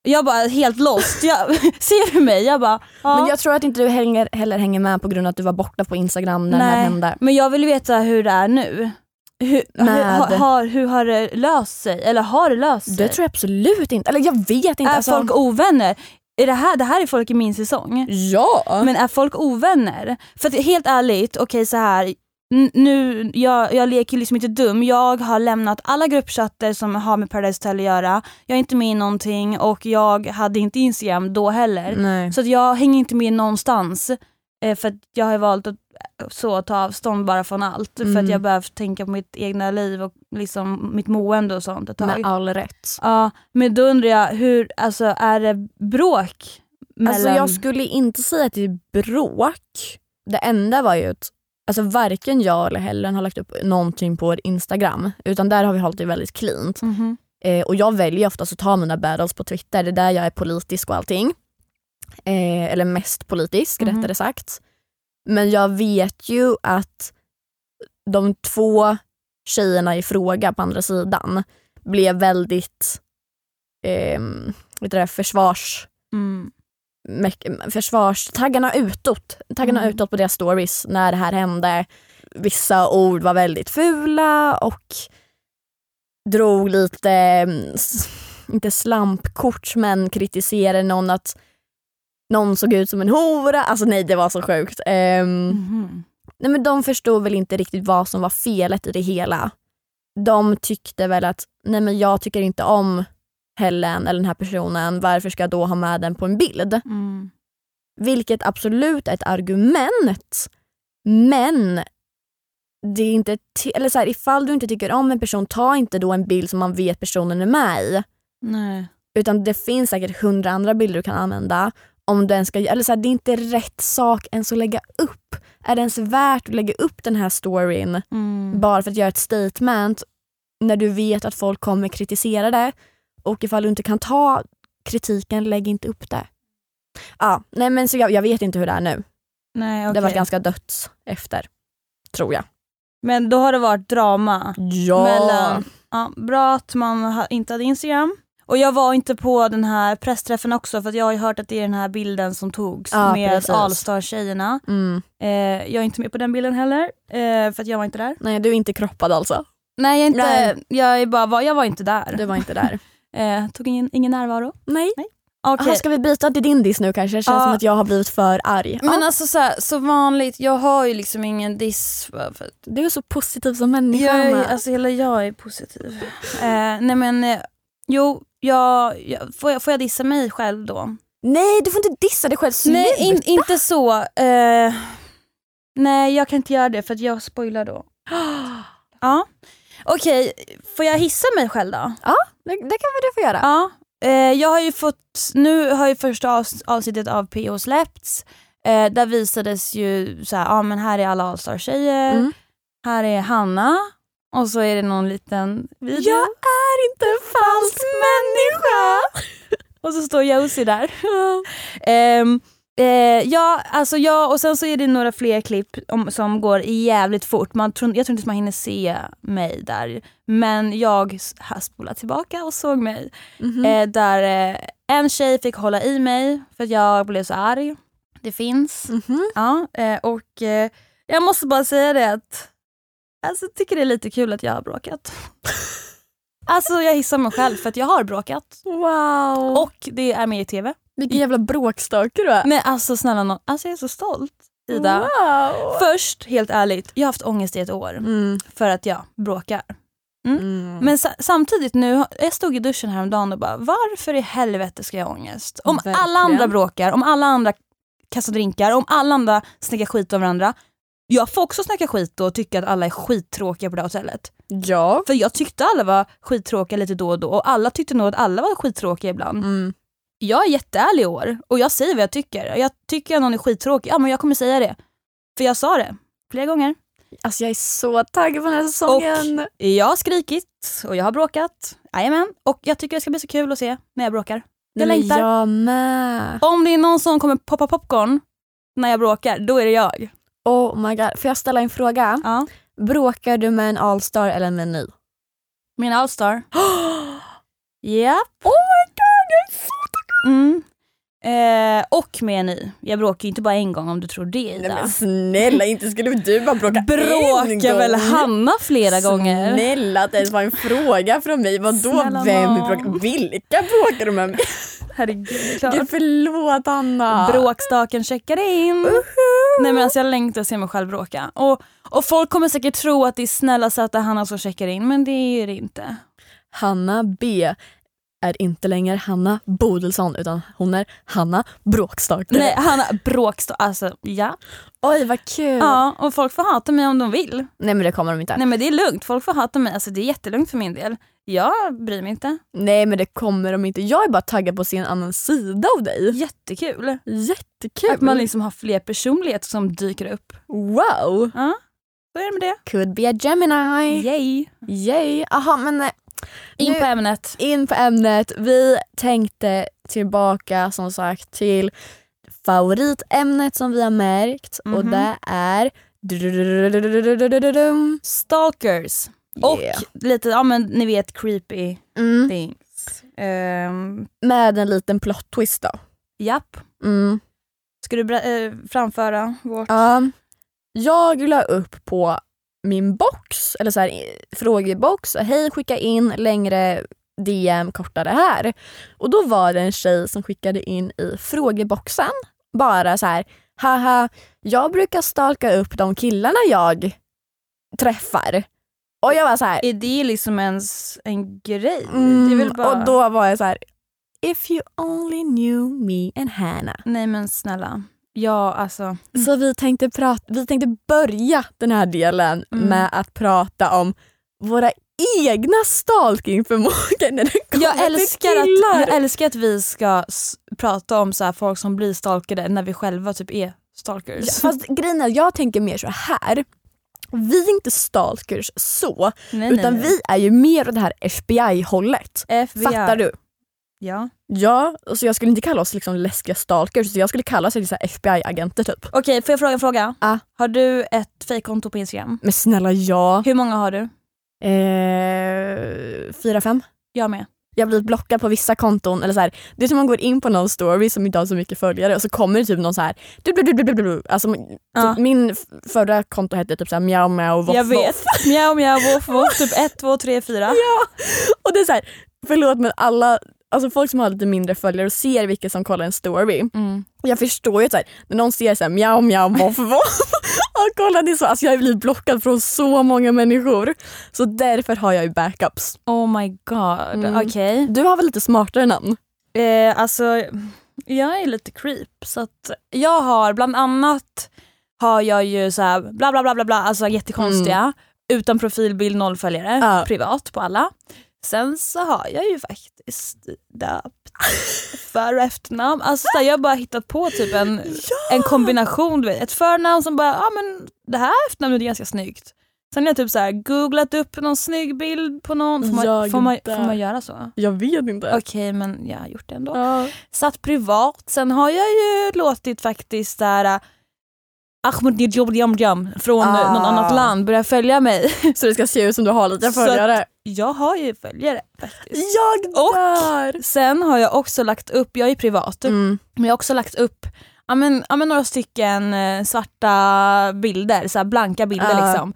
[SPEAKER 2] Jag bara helt lost. Jag, ser du mig? Jag bara, ja.
[SPEAKER 1] Men jag tror att inte du hänger, heller hänger med på grund av att du var borta på Instagram när det här
[SPEAKER 2] Nej.
[SPEAKER 1] hände.
[SPEAKER 2] Men jag vill veta hur det är nu. Hur, hur,
[SPEAKER 1] Med-
[SPEAKER 2] har- har, hur har det löst sig? Eller har det löst sig?
[SPEAKER 1] Det tror jag absolut inte. Eller jag vet inte.
[SPEAKER 2] är
[SPEAKER 1] alltså.
[SPEAKER 2] folk ovänner? Är det, här, det här är folk i min säsong.
[SPEAKER 1] Ja!
[SPEAKER 2] Men är folk ovänner? För att helt ärligt, okej så här. n- Nu, jag, jag leker ju liksom inte dum. Jag har lämnat alla gruppchatter som har med Paradise Hotel att göra. Jag är inte med i någonting och jag hade inte Instagram då heller.
[SPEAKER 1] Nej.
[SPEAKER 2] Så att jag hänger inte med någonstans. eh, För att jag har valt att eh, så, ta avstånd bara från allt. För
[SPEAKER 1] Mm.
[SPEAKER 2] att jag behöver tänka på mitt egna liv och liksom mitt mående och sånt ett tag.
[SPEAKER 1] Med all rätt.
[SPEAKER 2] ja, men då undrar jag, hur, alltså, är det bråk? Mellan...
[SPEAKER 1] Alltså jag skulle inte säga att det är bråk. Det enda var ju att alltså, varken jag eller Helen har lagt upp någonting på vår Instagram. Utan där har vi hållit det väldigt cleant.
[SPEAKER 2] Mhm.
[SPEAKER 1] Eh, och jag väljer oftast att ta mina battles på Twitter, det är där jag är politisk och allting. Eh, eller mest politisk
[SPEAKER 2] Mhm.
[SPEAKER 1] rättare sagt. Men jag vet ju att de två tjejerna i fråga på andra sidan blev väldigt eh, vet du det, försvars,
[SPEAKER 2] Mm.
[SPEAKER 1] mek- försvarstaggarna utåt. Taggarna
[SPEAKER 2] Mm.
[SPEAKER 1] utåt på deras stories när det här hände. Vissa ord var väldigt fula och drog lite, mm, s- inte slampkort, men kritiserade någon att någon såg ut som en hora. Alltså nej, det var så sjukt. Ehm,
[SPEAKER 2] Mhm.
[SPEAKER 1] nej, men de förstod väl inte riktigt vad som var felet i det hela. de tyckte väl att nej men jag tycker inte om Helen eller den här personen, varför ska jag då ha med den på en bild?
[SPEAKER 2] Mm.
[SPEAKER 1] Vilket absolut är ett argument. Men det är inte ti- eller så här, ifall du inte tycker om en person, ta inte då en bild som man vet personen är med i.
[SPEAKER 2] Nej.
[SPEAKER 1] Utan det finns säkert hundra andra bilder du kan använda. Om du ens ska, eller så här, det är inte rätt sak ens att lägga upp. Är det ens värt att lägga upp den här storyn
[SPEAKER 2] Mm.
[SPEAKER 1] bara för att göra ett statement när du vet att folk kommer kritisera det och ifall du inte kan ta kritiken, lägg inte upp det. Ja, nej men så jag, jag vet inte hur det är nu.
[SPEAKER 2] Nej,
[SPEAKER 1] Det har
[SPEAKER 2] okej.
[SPEAKER 1] varit ganska dött efter. Tror jag.
[SPEAKER 2] Men då har det varit drama.
[SPEAKER 1] Ja!
[SPEAKER 2] Mellan, ja, bra att man ha, inte hade Instagram. Och jag var inte på den här pressträffen också för att jag har ju hört att det är den här bilden som togs
[SPEAKER 1] Ja,
[SPEAKER 2] med
[SPEAKER 1] precis.
[SPEAKER 2] Allstar-tjejerna.
[SPEAKER 1] Mm.
[SPEAKER 2] Eh, jag är inte med på den bilden heller eh, för att jag var inte där.
[SPEAKER 1] Nej, du är inte kroppad alltså.
[SPEAKER 2] Nej, jag, är inte,
[SPEAKER 1] Nej.
[SPEAKER 2] jag är bara, var- jag var inte där.
[SPEAKER 1] Du var inte där.
[SPEAKER 2] Eh, tog ingen, ingen närvaro.
[SPEAKER 1] nej.
[SPEAKER 2] Okej.
[SPEAKER 1] Aha, ska vi byta till din diss nu kanske? Det känns
[SPEAKER 2] Ja.
[SPEAKER 1] som att jag har blivit för arg. Ja,
[SPEAKER 2] Men alltså så, här, så vanligt, jag har ju liksom ingen diss. för- för-
[SPEAKER 1] du är så positiv som människa.
[SPEAKER 2] Jag är,
[SPEAKER 1] Anna.
[SPEAKER 2] alltså hela jag är positiv. eh, nej men, eh, jo, jag, jag, får, jag, får jag dissa mig själv då?
[SPEAKER 1] Nej, du får inte dissa dig själv. Sluta.
[SPEAKER 2] Nej, in, inte så. Eh, nej, jag kan inte göra det för att jag spoilar då. Ja. Okej, får jag hissa mig själv då?
[SPEAKER 1] Det, det kan väl du få göra.
[SPEAKER 2] Ja. Eh, jag har ju fått, nu har ju första avs- avsnittet av PO släppts. Eh, där visades ju så här, ja men här är alla Allstar-tjejer,
[SPEAKER 1] Mm.
[SPEAKER 2] här är Hanna och så är det någon liten video.
[SPEAKER 1] Jag
[SPEAKER 2] är inte en falsk människa! och så står Josie där. Ehm, eh, ja, alltså ja, och sen så är det några fler klipp om, som går jävligt fort. Man tror, jag tror inte man hinner se mig där. Men jag s- spolade tillbaka och såg mig.
[SPEAKER 1] Mhm.
[SPEAKER 2] Eh, där eh, en tjej fick hålla i mig för att jag blev så arg. Det finns.
[SPEAKER 1] Mhm.
[SPEAKER 2] Ja, eh, och eh, jag måste bara säga det att alltså, jag tycker det är lite kul att jag har bråkat. alltså jag hissar mig själv för att jag har bråkat.
[SPEAKER 1] Wow.
[SPEAKER 2] Och det är med i TV.
[SPEAKER 1] Vilken jävla bråkstake du är.
[SPEAKER 2] Men alltså snälla nån, alltså jag är så stolt Ida.
[SPEAKER 1] Wow.
[SPEAKER 2] Först, helt ärligt, jag har haft ångest i ett år
[SPEAKER 1] Mm.
[SPEAKER 2] för att jag bråkar.
[SPEAKER 1] Mm.
[SPEAKER 2] Men sa- samtidigt nu, jag stod i duschen häromdagen och bara varför i helvete ska jag ha ångest? Om
[SPEAKER 1] Verkligen.
[SPEAKER 2] alla andra bråkar, om alla andra kastar drinkar, om alla andra snackar skit om varandra. Jag får också snacka skit och tycka att alla är skittråkiga på det här hotellet.
[SPEAKER 1] Ja.
[SPEAKER 2] För jag tyckte alla var skittråkiga lite då och då och alla tyckte nog att alla var skittråkiga ibland.
[SPEAKER 1] Mm.
[SPEAKER 2] Jag är jätteärlig i år och jag säger vad jag tycker. Jag tycker att någon är skittråkig, ja men jag kommer säga det. För jag sa det flera gånger.
[SPEAKER 1] Alltså jag är så taggad på den här säsongen. Och,
[SPEAKER 2] Jag har skrikit och jag har bråkat. Jajamän. Och jag tycker det ska bli så kul att se när jag bråkar. jag längtar.
[SPEAKER 1] Jag med.
[SPEAKER 2] Om det är någon som kommer poppa popcorn när jag bråkar, då är det jag.
[SPEAKER 1] Oh my god. Får jag ställa en fråga?
[SPEAKER 2] Ja.
[SPEAKER 1] Bråkar du med en allstar eller med en ny?
[SPEAKER 2] Min allstar. Japp.
[SPEAKER 1] Oh my god, jag är så
[SPEAKER 2] Mm. Eh, och med en ny. Jag bråkar ju inte bara en gång om du tror det
[SPEAKER 1] Nej,
[SPEAKER 2] Ida.
[SPEAKER 1] men snälla, inte skulle du bara bråka en
[SPEAKER 2] Bråkar
[SPEAKER 1] gång.
[SPEAKER 2] väl Hanna flera gånger?
[SPEAKER 1] Snälla, att det ens var en fråga från mig. Vadå,
[SPEAKER 2] Snälla
[SPEAKER 1] vem
[SPEAKER 2] nån.
[SPEAKER 1] bråkar? Vilka bråkar du med? Mig?
[SPEAKER 2] Herregud,
[SPEAKER 1] Gud, förlåt Anna.
[SPEAKER 2] Bråkstaken checkar in. Nej men alltså jag längtar att se mig själv bråka. Och, och folk kommer säkert tro att det är snälla söta Hanna som checkar in men det är det inte.
[SPEAKER 1] Hanna B är inte längre Hanna Bodilsson utan hon är Hanna Bråkstake.
[SPEAKER 2] Nej Hanna bråksta, alltså ja.
[SPEAKER 1] Oj vad kul!
[SPEAKER 2] ja. Och folk får hata mig om de vill.
[SPEAKER 1] Nej men det kommer de inte. Nej.
[SPEAKER 2] Nej men det är lugnt, folk får hata mig. Alltså det är jättelugnt för min del. Jag bryr mig inte.
[SPEAKER 1] men det kommer de inte. Jag är bara taggad på att se en annan sida av dig.
[SPEAKER 2] Jättekul.
[SPEAKER 1] Jättekul!
[SPEAKER 2] Att man liksom har fler personligheter som dyker upp.
[SPEAKER 1] Wow!
[SPEAKER 2] Ja, så är det med det.
[SPEAKER 1] Could be a Gemini.
[SPEAKER 2] Yay.
[SPEAKER 1] Yay! Aha, men eh,
[SPEAKER 2] In
[SPEAKER 1] Nu-
[SPEAKER 2] på ämnet.
[SPEAKER 1] in på ämnet. Vi tänkte tillbaka som sagt till favoritämnet som vi har märkt och
[SPEAKER 2] Mhm.
[SPEAKER 1] det är
[SPEAKER 2] Stalkers. Och
[SPEAKER 1] Yeah.
[SPEAKER 2] lite, ja men ni vet creepy
[SPEAKER 1] Mm.
[SPEAKER 2] things. Ehm,
[SPEAKER 1] Med en liten plot twist då.
[SPEAKER 2] japp.
[SPEAKER 1] Mm.
[SPEAKER 2] Ska du ber- eh, framföra vårt...
[SPEAKER 1] Um, jag la upp på min box, eller så här, eh, frågebox, hej skicka in längre DM, kortare här. Och då var det en tjej som skickade in i frågeboxen, bara så här, haha, jag brukar stalka upp de killarna jag träffar. Och jag var så här,
[SPEAKER 2] Är det liksom ens en grej? det är
[SPEAKER 1] mm,
[SPEAKER 2] väl bara...
[SPEAKER 1] och då var jag så här, if you only knew me and Hannah.
[SPEAKER 2] Nej men snälla. Ja alltså.
[SPEAKER 1] Så vi tänkte, prata, vi tänkte börja den här delen
[SPEAKER 2] Mm.
[SPEAKER 1] med att prata om våra egna stalkingförmågor när det kommer
[SPEAKER 2] Jag älskar,
[SPEAKER 1] till
[SPEAKER 2] att,
[SPEAKER 1] killar.
[SPEAKER 2] jag älskar att vi ska s- prata om så här folk som blir stalkade när vi själva typ är stalkers.
[SPEAKER 1] Ja, Fast grejen är, jag tänker mer så här. Vi är inte stalkers så,
[SPEAKER 2] nej,
[SPEAKER 1] utan vi är ju mer åt det här FBI-hållet.
[SPEAKER 2] vi FBI.
[SPEAKER 1] Fattar du?
[SPEAKER 2] Ja.
[SPEAKER 1] Ja, så jag skulle inte kalla oss liksom läskiga stalkers, så jag skulle kalla oss liksom FBI-agenter typ.
[SPEAKER 2] Okej, får jag fråga en fråga?
[SPEAKER 1] Ah.
[SPEAKER 2] Har du ett fejkkonto på Instagram?
[SPEAKER 1] Men snälla ja.
[SPEAKER 2] Hur många har du?
[SPEAKER 1] Eh, fyra, fem?
[SPEAKER 2] Jag med.
[SPEAKER 1] jag blir blockad på vissa konton. Eller så här, det är som man går in på någon story som inte har så mycket följare och så kommer det typ någon så här... Du, du, du, du, du, du. Alltså, typ
[SPEAKER 2] Ja.
[SPEAKER 1] Min f- förra konto hette typ så här, mjau mjau voff,
[SPEAKER 2] jag vet.
[SPEAKER 1] voff.
[SPEAKER 2] Mjau mjau voff voff, typ ett, två, tre, fyra.
[SPEAKER 1] Och det är så här, förlåt men alla, alltså folk som har lite mindre följare och ser vilka som kollar en story.
[SPEAKER 2] Mm.
[SPEAKER 1] Jag förstår ju att så här, när någon ser så här, mjau mjau voff voff och kollar det så, alltså jag blir blockad från så många människor. Så därför har jag ju backups.
[SPEAKER 2] Oh my god,
[SPEAKER 1] Mm.
[SPEAKER 2] okej.
[SPEAKER 1] Du har väl lite smartare namn?
[SPEAKER 2] Eh, alltså, jag är lite creep så att jag har bland annat har jag ju så här bla bla bla bla bla, alltså jättekonstiga, utan profilbild, noll följare,
[SPEAKER 1] Mm. Ja.
[SPEAKER 2] privat på alla. Sen så har jag ju faktiskt döpt för och efternamn, alltså så här, jag har bara hittat på typ en, en kombination, du vet. ett förnamn som bara, ja ah, men det här efternamnet är ganska snyggt. Sen har jag typ så här googlat upp någon snygg bild på någon, får man,
[SPEAKER 1] Jag
[SPEAKER 2] får man,
[SPEAKER 1] dör.
[SPEAKER 2] får man göra så?
[SPEAKER 1] Jag vet inte.
[SPEAKER 2] Okej men jag har gjort det ändå
[SPEAKER 1] Ja.
[SPEAKER 2] satt privat. Sen har jag ju låtit faktiskt där äh, Ahmed Jobjamjam från
[SPEAKER 1] Ah.
[SPEAKER 2] ah. något annat land börja följa mig.
[SPEAKER 1] Så det ska se ut som du har lite
[SPEAKER 2] Så att-
[SPEAKER 1] följare.
[SPEAKER 2] Jag har ju följare faktiskt.
[SPEAKER 1] Jag
[SPEAKER 2] Och-
[SPEAKER 1] dör!
[SPEAKER 2] Sen har jag också lagt upp, jag är privat,
[SPEAKER 1] Mm.
[SPEAKER 2] men jag har också lagt upp ja, men, ja, men några stycken eh, svarta bilder, så här blanka bilder
[SPEAKER 1] Ah.
[SPEAKER 2] liksom.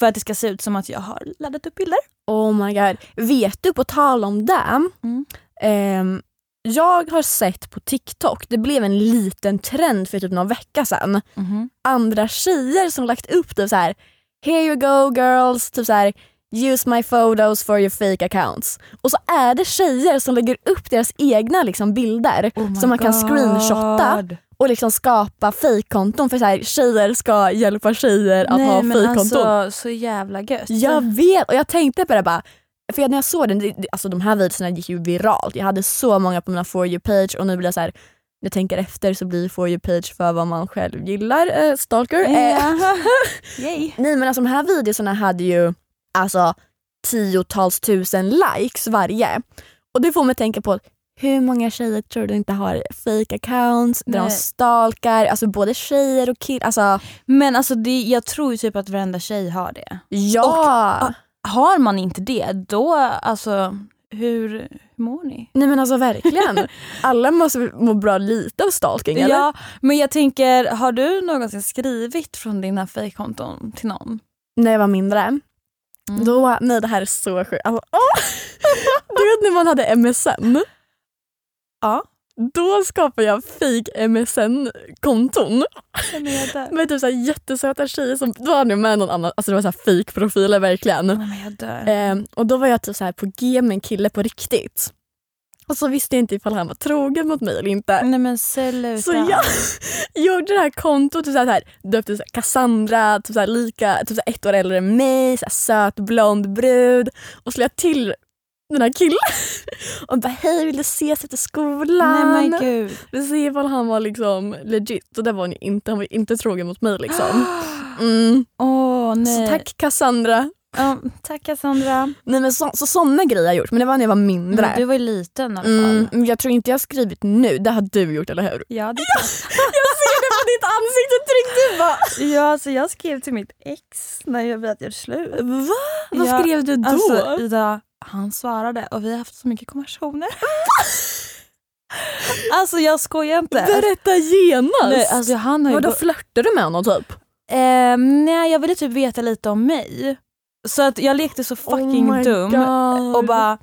[SPEAKER 2] För att det ska se ut som att jag har laddat upp bilder.
[SPEAKER 1] Oh my god. Vet du, på tal om det.
[SPEAKER 2] Mm.
[SPEAKER 1] ehm, jag har sett på TikTok, det blev en liten trend för typ någon vecka sedan.
[SPEAKER 2] Mhm.
[SPEAKER 1] Andra tjejer som lagt upp typ så här: “Here you go girls” typ så här, “Use my photos for your fake accounts”. Och så är det tjejer som lägger upp deras egna liksom, bilder
[SPEAKER 2] Oh my
[SPEAKER 1] som man kan screenshotta
[SPEAKER 2] God.
[SPEAKER 1] och liksom skapa fejkkonton för så här, tjejer ska hjälpa tjejer att
[SPEAKER 2] Nej
[SPEAKER 1] ha
[SPEAKER 2] men
[SPEAKER 1] fejkkonton.
[SPEAKER 2] alltså så jävla gött.
[SPEAKER 1] Jag vet och jag tänkte på det bara. För jag- när jag såg den, det- det- alltså de här videorna gick ju viralt. Jag hade så många på mina For you page och nu blir jag så här. när jag tänker efter så blir For you page för vad man själv gillar. Eh, stalker. Eh,
[SPEAKER 2] Ja. Yay.
[SPEAKER 1] nej men alltså de här videorna hade ju alltså tiotals tusen likes varje. Och det får mig att tänka på hur många tjejer tror du inte har fake accounts där de
[SPEAKER 2] Nej.
[SPEAKER 1] stalkar, alltså både tjejer och killar. Alltså
[SPEAKER 2] Men alltså det, jag tror ju typ att varenda tjej har det.
[SPEAKER 1] ja!
[SPEAKER 2] Har man inte det, då alltså hur, hur mår ni?
[SPEAKER 1] Nej men alltså verkligen. Alla måste väl må bra lite av stalking eller?
[SPEAKER 2] Ja, men jag tänker, har du någonsin skrivit från dina fejkkonton till någon?
[SPEAKER 1] När jag var mindre.
[SPEAKER 2] Mm.
[SPEAKER 1] Då, nej det här är så sjukt. Alltså, åh! Du vet när man hade MSN?
[SPEAKER 2] Ja.
[SPEAKER 1] Då skapade jag fake MSN-konton
[SPEAKER 2] Vem är där?
[SPEAKER 1] med typ så här jättesöta tjejer som då hade jag med någon annan, alltså det var så här fake profiler verkligen.
[SPEAKER 2] Nej, men jag dör.
[SPEAKER 1] Ehm, och då var jag typ så här på G med en kille på riktigt. Och så visste jag inte ifall han var trogen mot mig eller inte.
[SPEAKER 2] Nej men sluta.
[SPEAKER 1] Så jag gjorde det här kontot och så här, så här, döpte så här Cassandra, typ så här, lika, typ så här ett år äldre än mig, så här, söt blond brud. Och så lade jag till den här killen och bara hej vill du ses efter
[SPEAKER 2] Nej
[SPEAKER 1] skolan?
[SPEAKER 2] men gud.
[SPEAKER 1] Vi ser ifall han var liksom legit. Och det var han ju inte, han var ju inte trogen mot mig liksom. Mm.
[SPEAKER 2] Åh nej.
[SPEAKER 1] Så tack Cassandra.
[SPEAKER 2] Ja, tack Cassandra.
[SPEAKER 1] Nej men så, så sådana grejer har jag gjort men det var när jag var mindre.
[SPEAKER 2] Men du var ju liten i alla fall.
[SPEAKER 1] Mm, men jag tror inte jag har skrivit nu, det har du gjort eller hur?
[SPEAKER 2] Ja, det
[SPEAKER 1] På ditt ansikte tryckte du bara
[SPEAKER 2] ja, alltså jag skrev till mitt ex när jag vet att jag gjorde slut.
[SPEAKER 1] Va? Vad
[SPEAKER 2] Ja,
[SPEAKER 1] skrev du då?
[SPEAKER 2] Alltså Ida, han svarade och vi har haft så mycket konversationer. alltså jag skojar inte.
[SPEAKER 1] Berätta genast!
[SPEAKER 2] Nej, alltså, han har ju
[SPEAKER 1] Vadå
[SPEAKER 2] gå-
[SPEAKER 1] flörtar du med honom typ?
[SPEAKER 2] eh, nej, jag ville typ veta lite om mig. Så att jag lekte
[SPEAKER 1] Oh
[SPEAKER 2] så fucking dum
[SPEAKER 1] Mm.
[SPEAKER 2] och bara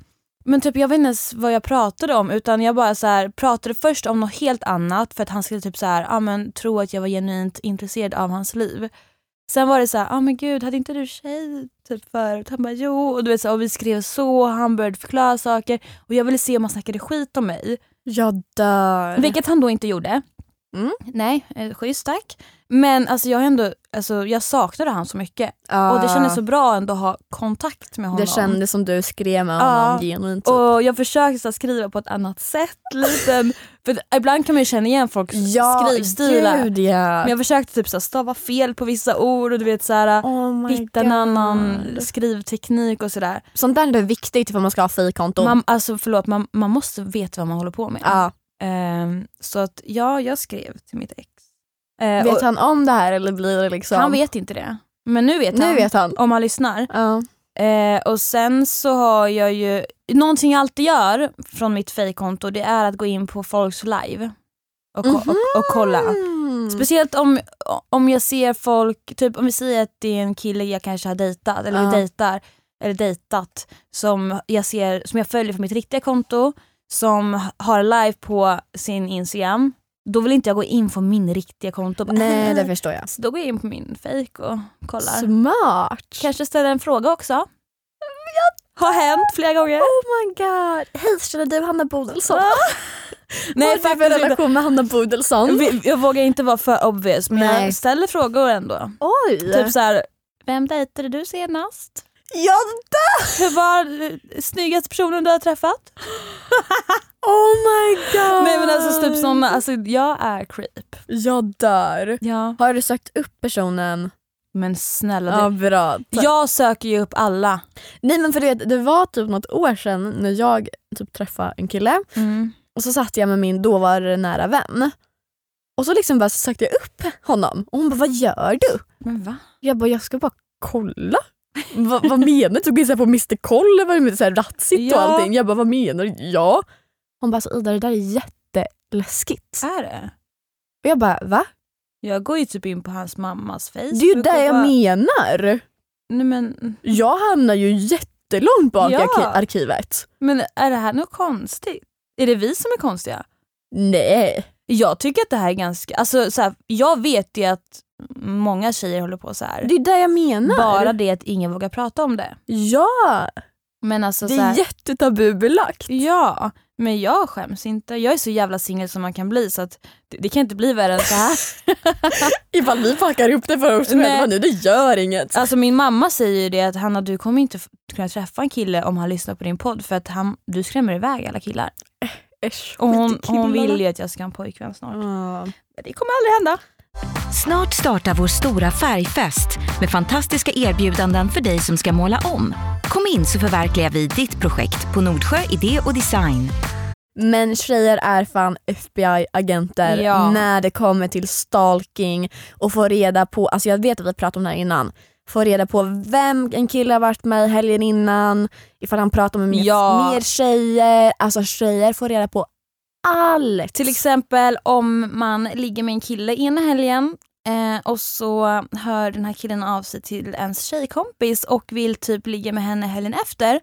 [SPEAKER 2] men typ jag vet inte ens vad jag pratade om utan jag bara så här, pratade först om något helt annat för att han skulle typ så här, ah, men, tro att jag var genuint intresserad av hans liv. Sen var det så här, ah, men gud hade inte du tjej typ förut? Han bara jo och du vet så här, och vi skrev så och han började förklara saker och jag ville se om han snackade skit om mig.
[SPEAKER 1] Jag dör.
[SPEAKER 2] Vilket han då inte gjorde.
[SPEAKER 1] Mm.
[SPEAKER 2] Nej, eh, schysst tack. Men alltså, jag, har ändå, alltså, jag saknade han så mycket
[SPEAKER 1] Ja.
[SPEAKER 2] och det kändes så bra ändå att ha kontakt med honom.
[SPEAKER 1] Ah. Det kändes som du skrev med honom
[SPEAKER 2] Ja.
[SPEAKER 1] genuint. typ.
[SPEAKER 2] Och jag försökte så här, skriva på ett annat sätt. Lite, för ibland kan man ju känna igen folks skrivstilar.
[SPEAKER 1] gud ja.
[SPEAKER 2] Men jag försökte typ så här, stava fel på vissa ord och du vet så här,
[SPEAKER 1] Oh my
[SPEAKER 2] hitta en
[SPEAKER 1] God.
[SPEAKER 2] annan skrivteknik och sådär.
[SPEAKER 1] Sånt där är det viktigt ifall man ska ha fejkkonto.
[SPEAKER 2] Man, alltså förlåt, man, man måste veta vad man håller på med.
[SPEAKER 1] Ja.
[SPEAKER 2] Ehm, så att ja, jag skrev till mitt ex. Eh, och
[SPEAKER 1] Vet han om det här eller blir det liksom...
[SPEAKER 2] han vet inte det. Men nu vet
[SPEAKER 1] Nu
[SPEAKER 2] han.
[SPEAKER 1] vet han.
[SPEAKER 2] Om han lyssnar.
[SPEAKER 1] Ja.
[SPEAKER 2] Eh, och sen så har jag ju, någonting jag alltid gör från mitt fejkkonto det är att gå in på folks live och, ko-
[SPEAKER 1] Mhm.
[SPEAKER 2] och, och kolla.
[SPEAKER 1] Mm.
[SPEAKER 2] Speciellt om, om jag ser folk, typ om vi säger att det är en kille jag kanske har dejtat eller
[SPEAKER 1] Ja.
[SPEAKER 2] dejtar eller dejtat som jag, ser, som jag följer på mitt riktiga konto som har live på sin Instagram. Då vill inte jag gå in på min riktiga konto. och bara,
[SPEAKER 1] Nej, det
[SPEAKER 2] "Äh."
[SPEAKER 1] förstår jag.
[SPEAKER 2] Så då går jag in på min fake och kollar.
[SPEAKER 1] Smart.
[SPEAKER 2] Kanske ställa en fråga också. Har hänt flera gånger.
[SPEAKER 1] Oh my god. Hej, känner du Hanna Bodelsson? Vad
[SPEAKER 2] Nej
[SPEAKER 1] har du för
[SPEAKER 2] faktiskt inte.
[SPEAKER 1] relation med Hanna Bodelsson?
[SPEAKER 2] Vi- Jag vågar inte vara för obvious men
[SPEAKER 1] Nej.
[SPEAKER 2] jag ställer frågor ändå.
[SPEAKER 1] Oj!
[SPEAKER 2] Typ så här, vem dejtade du senast?
[SPEAKER 1] jag
[SPEAKER 2] Hur var eh, snyggaste personen du har träffat?
[SPEAKER 1] Oh my god!
[SPEAKER 2] Nej men alltså typ såna, alltså jag är creep.
[SPEAKER 1] Jag dör.
[SPEAKER 2] Ja.
[SPEAKER 1] Har du sökt upp personen?
[SPEAKER 2] Men snälla du.
[SPEAKER 1] Ja, bra.
[SPEAKER 2] Jag söker ju upp alla.
[SPEAKER 1] Nej men för du vet, det var typ något år sedan när jag typ träffade en kille och så satt jag med min dåvarande nära vän. Och så liksom bara så sökte jag upp honom och hon bara “Vad gör du?”
[SPEAKER 2] Men va?
[SPEAKER 1] Jag bara “Jag ska bara kolla”. Va, vad menar du? Tog in så här på Mr Koll och var med så här ratsigt och
[SPEAKER 2] Ja.
[SPEAKER 1] allting. Jag bara “Vad menar du?” Ja. Hon bara så “Ida det där är jätteläskigt”.
[SPEAKER 2] Är det?
[SPEAKER 1] Och jag bara “Va?”
[SPEAKER 2] Jag går ju typ in på hans mammas Facebook.
[SPEAKER 1] Det är ju det
[SPEAKER 2] och
[SPEAKER 1] jag
[SPEAKER 2] bara-
[SPEAKER 1] menar.
[SPEAKER 2] Nej, men,
[SPEAKER 1] Jag hamnar ju jättelångt bak i
[SPEAKER 2] Ja.
[SPEAKER 1] arki- arkivet.
[SPEAKER 2] men är det här något konstigt? Är det vi som är konstiga?
[SPEAKER 1] Nej.
[SPEAKER 2] Jag tycker att det här är ganska, alltså så här, jag vet ju att många tjejer håller på så här.
[SPEAKER 1] Det är det jag menar.
[SPEAKER 2] Bara det att ingen vågar prata om det.
[SPEAKER 1] Ja,
[SPEAKER 2] Men alltså
[SPEAKER 1] det
[SPEAKER 2] så
[SPEAKER 1] är
[SPEAKER 2] här,
[SPEAKER 1] jättetabubelagt.
[SPEAKER 2] Ja, men jag skäms inte. Jag är så jävla singel som man kan bli så att det, det kan inte bli värre än så här.
[SPEAKER 1] Ifall vi packar ihop det för oss
[SPEAKER 2] Nej.
[SPEAKER 1] själva nu, det gör inget.
[SPEAKER 2] Alltså min mamma säger ju det att Hanna du kommer inte f- kunna träffa en kille om han lyssnar på din podd för att han, du skrämmer iväg alla killar.
[SPEAKER 1] Äsch,
[SPEAKER 2] Och hon,
[SPEAKER 1] skit i
[SPEAKER 2] hon
[SPEAKER 1] killarna.
[SPEAKER 2] vill ju att jag ska ha en pojkvän snart.
[SPEAKER 1] Ja.
[SPEAKER 2] Men Det kommer aldrig hända.
[SPEAKER 3] Snart startar vår stora färgfest med fantastiska erbjudanden för dig som ska måla om. Kom in så förverkligar vi ditt projekt på Nordsjö Idé och Design.
[SPEAKER 1] Men tjejer är fan FBI-agenter
[SPEAKER 2] Ja.
[SPEAKER 1] när det kommer till stalking och få reda på, alltså jag vet att vi pratade om det här innan, få reda på vem en kille har varit med helgen innan, ifall han pratar med mer,
[SPEAKER 2] Ja.
[SPEAKER 1] mer tjejer, alltså tjejer får reda på allt.
[SPEAKER 2] Till exempel om man ligger med en kille ena helgen eh, och så hör den här killen av sig till ens tjejkompis och vill typ ligga med henne helgen efter.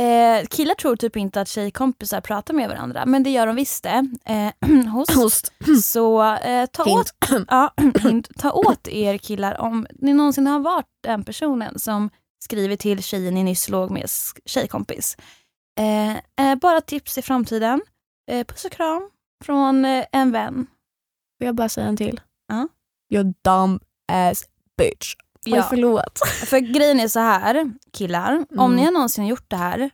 [SPEAKER 2] Eh, killar tror typ inte att tjejkompisar pratar med varandra men det gör de visst det. Eh, hos.
[SPEAKER 1] Host.
[SPEAKER 2] Så eh, ta,
[SPEAKER 1] Hint.
[SPEAKER 2] åt, ja, hint, ta åt er killar om ni någonsin har varit den personen som skriver till tjejen ni nyss låg med s- tjejkompis. Eh, eh, bara tips i framtiden. Eh, puss och kram från eh, en vän.
[SPEAKER 1] Får jag bara säga en till?
[SPEAKER 2] Ja.
[SPEAKER 1] You're dumb ass bitch. Oj,
[SPEAKER 2] Ja.
[SPEAKER 1] förlåt.
[SPEAKER 2] För grejen är så här, killar,
[SPEAKER 1] Mm.
[SPEAKER 2] om ni har någonsin gjort det här,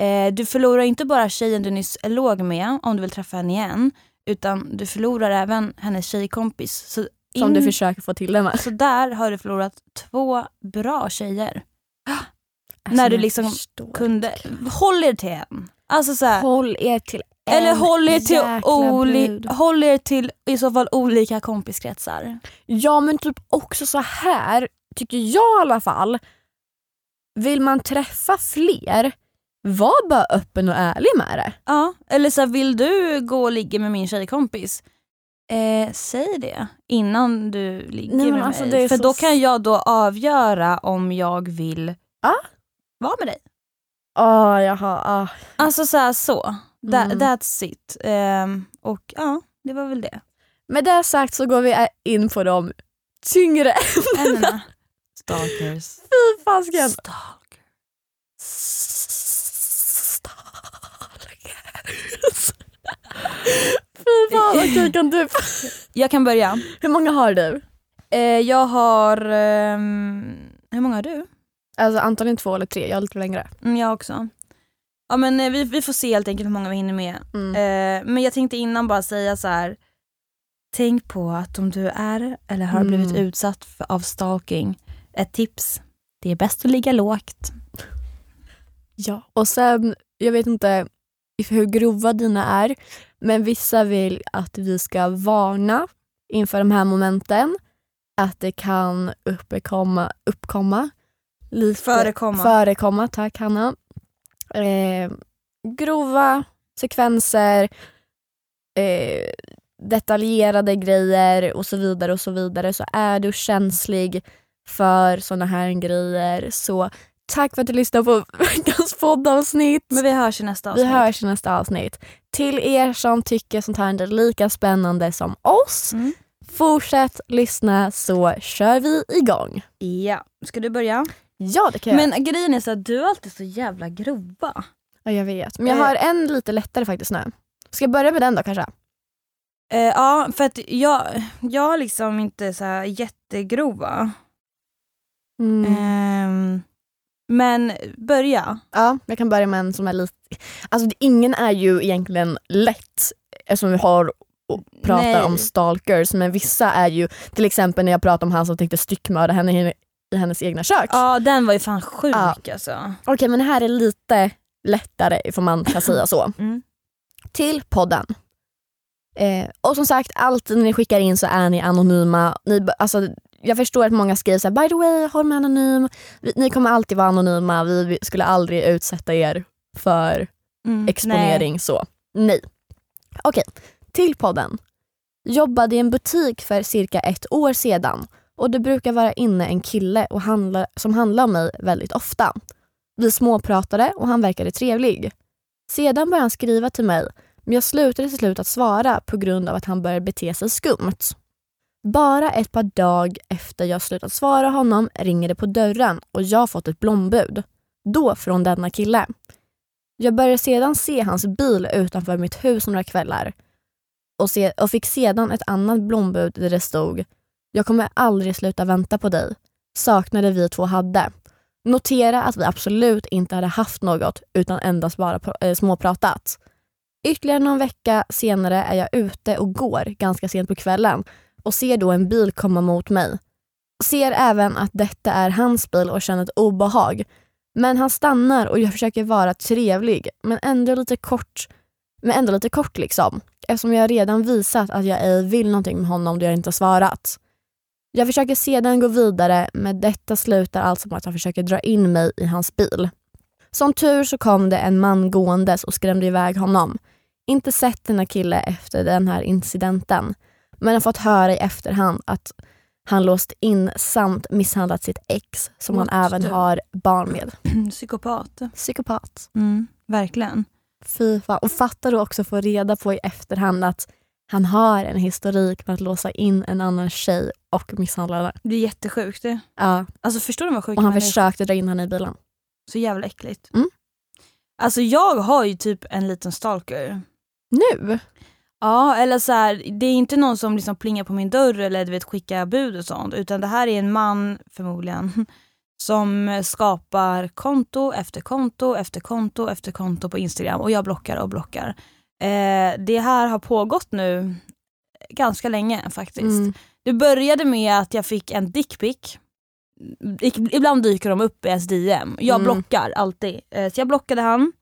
[SPEAKER 2] eh, du förlorar inte bara tjejen du nyss låg med om du vill träffa henne igen, utan du förlorar även hennes tjejkompis. Så
[SPEAKER 1] Som
[SPEAKER 2] in-
[SPEAKER 1] du försöker få till det med.
[SPEAKER 2] så där har du förlorat två bra tjejer. När du
[SPEAKER 1] Alltså, jag
[SPEAKER 2] liksom
[SPEAKER 1] förstår.
[SPEAKER 2] Kunde, håll er till en. Alltså så här,
[SPEAKER 1] Håll er till
[SPEAKER 2] eller
[SPEAKER 1] en
[SPEAKER 2] håll er, till
[SPEAKER 1] jäkla
[SPEAKER 2] oli,
[SPEAKER 1] brud.
[SPEAKER 2] håll er till i så fall olika kompiskretsar.
[SPEAKER 1] Ja men typ också så här tycker jag i alla fall. Vill man träffa fler, var bara öppen och ärlig med det.
[SPEAKER 2] Ja, eller så här, vill du gå och ligga med min tjejkompis? Eh, säg det innan du ligger
[SPEAKER 1] Nej, men
[SPEAKER 2] med
[SPEAKER 1] alltså, det är
[SPEAKER 2] mig. För
[SPEAKER 1] så-
[SPEAKER 2] då kan jag då avgöra om jag vill
[SPEAKER 1] Ja.
[SPEAKER 2] vara med dig.
[SPEAKER 1] Ja, jaha. Ah.
[SPEAKER 2] Alltså så här, så. Tha-
[SPEAKER 1] Mm.
[SPEAKER 2] That's it. Ehm, och ja, det var väl det.
[SPEAKER 1] Med det sagt så går vi ä- in på de tyngre än mina
[SPEAKER 2] Händerna. Stalkers.
[SPEAKER 1] fasken.
[SPEAKER 2] Stalker.
[SPEAKER 1] Stalkers. Fy fan okej kan du.
[SPEAKER 2] Jag kan börja.
[SPEAKER 1] Hur många har du?
[SPEAKER 2] Eh, jag har... ehm, hur många har du?
[SPEAKER 1] Alltså antagligen två eller tre, jag har lite längre.
[SPEAKER 2] Mm, jag också. Ja men eh, vi, vi får se helt enkelt hur många vi hinner med.
[SPEAKER 1] Mm.
[SPEAKER 2] Eh, men jag tänkte innan bara säga så här. Tänk på att om du är eller har
[SPEAKER 1] Mm.
[SPEAKER 2] blivit utsatt för, av stalking, ett tips. Det är bäst att ligga lågt.
[SPEAKER 1] Ja. Och sen, jag vet inte if- hur grova dina är, men vissa vill att vi ska varna inför de här momenten att det kan uppkomma, uppkomma lite
[SPEAKER 2] Förekomma.
[SPEAKER 1] förekomma, tack Hanna. Eh, grova sekvenser, eh, detaljerade grejer och så vidare och så vidare. Så är du känslig för såna här grejer så tack för att du lyssnade på veckans poddavsnitt.
[SPEAKER 2] Men vi hörs i nästa
[SPEAKER 1] Vi
[SPEAKER 2] avsnitt.
[SPEAKER 1] hörs i nästa avsnitt. Till er som tycker sånt här är lika spännande som oss,
[SPEAKER 2] Mm.
[SPEAKER 1] fortsätt lyssna så kör vi igång.
[SPEAKER 2] Ja. Ska du börja?
[SPEAKER 1] Ja det kan jag
[SPEAKER 2] Men grejen är så att du är alltid så jävla grova.
[SPEAKER 1] Ja, jag vet. Eh, Men jag har en lite lättare faktiskt nu. Ska jag börja med den då kanske?
[SPEAKER 2] Eh, ja, för att jag, jag är liksom inte så här jättegrova.
[SPEAKER 1] Mm.
[SPEAKER 2] Ehm, men börja.
[SPEAKER 1] Ja, jag kan börja med en som är lite... Alltså det- ingen är ju egentligen lätt eftersom vi har och pratar
[SPEAKER 2] Nej.
[SPEAKER 1] om stalkers men vissa är ju, till exempel när jag pratar om han som tänkte styckmörda henne i- i hennes egna kök.
[SPEAKER 2] Ja, den var ju fan sjuk
[SPEAKER 1] Ja. Mm.
[SPEAKER 2] alltså.
[SPEAKER 1] Okej men det här är lite lättare ifall man kan säga så.
[SPEAKER 2] Mm.
[SPEAKER 1] Till podden. Eh, och som sagt, alltid när ni skickar in så är ni anonyma. Ni, b- alltså, jag förstår att många skriver så här, by the way, håll mig anonym. Vi, ni kommer alltid vara anonyma, vi vi skulle aldrig utsätta er för
[SPEAKER 2] Mm,
[SPEAKER 1] exponering. så. Nej. Okej, till podden. Jobbade i en butik för cirka ett år sedan och det brukar vara inne en kille och handla, som handlar om mig väldigt ofta. Vi småpratade och han verkade trevlig. Sedan började han skriva till mig men jag slutade till slut att svara på grund av att han började bete sig skumt. Bara ett par dagar efter jag slutat svara honom ringer det på dörren och jag fått ett blombud. Då från denna kille. Jag började sedan se hans bil utanför mitt hus några kvällar och, se, och fick sedan ett annat blombud där det stod “Jag kommer aldrig sluta vänta på dig. Saknade vi två hade. Notera att vi absolut inte hade haft något utan endast bara pr- eh, småpratat. Ytterligare någon vecka senare är jag ute och går ganska sent på kvällen och ser då en bil komma mot mig. Ser även att detta är hans bil och känner ett obehag men han stannar och jag försöker vara trevlig men ändå lite kort. Men ändå lite kort liksom. Eftersom jag redan visat att jag ej vill någonting med honom då jag inte har svarat. Jag försöker sedan gå vidare men detta slutar alltså med att han försöker dra in mig i hans bil. Som tur så kom det en man gåendes och skrämde iväg honom. Inte sett denna kille efter den här incidenten men har fått höra i efterhand att han låst in samt misshandlat sitt ex som han
[SPEAKER 2] Måste.
[SPEAKER 1] även har barn med.
[SPEAKER 2] Nej. mm, Psykopat.
[SPEAKER 1] Psykopat.
[SPEAKER 2] Mm, verkligen.
[SPEAKER 1] Fy fan. Och fattar du också få reda på i efterhand att han har en historik med att låsa in en annan tjej och misshandla henne.
[SPEAKER 2] Det är jättesjukt. Det.
[SPEAKER 1] Ja.
[SPEAKER 2] Alltså förstår du vad sjukt
[SPEAKER 1] Och han
[SPEAKER 2] man är?
[SPEAKER 1] försökte dra in henne i bilen.
[SPEAKER 2] Så jävla äckligt.
[SPEAKER 1] Mm.
[SPEAKER 2] Alltså jag har ju typ en liten stalker.
[SPEAKER 1] Nu?
[SPEAKER 2] Ja, eller så här, det är inte någon som liksom plingar på min dörr eller du vet, skickar bud och sånt, utan det här är en man, förmodligen, som skapar konto efter konto efter konto efter konto på Instagram och jag blockar och blockar. Eh, det här har pågått nu ganska länge faktiskt.
[SPEAKER 1] Mm.
[SPEAKER 2] Det började med att jag fick en dickpic. I- Ibland dyker de upp i ens DM. Jag
[SPEAKER 1] Mm.
[SPEAKER 2] blockar alltid. Eh, Så jag blockade han.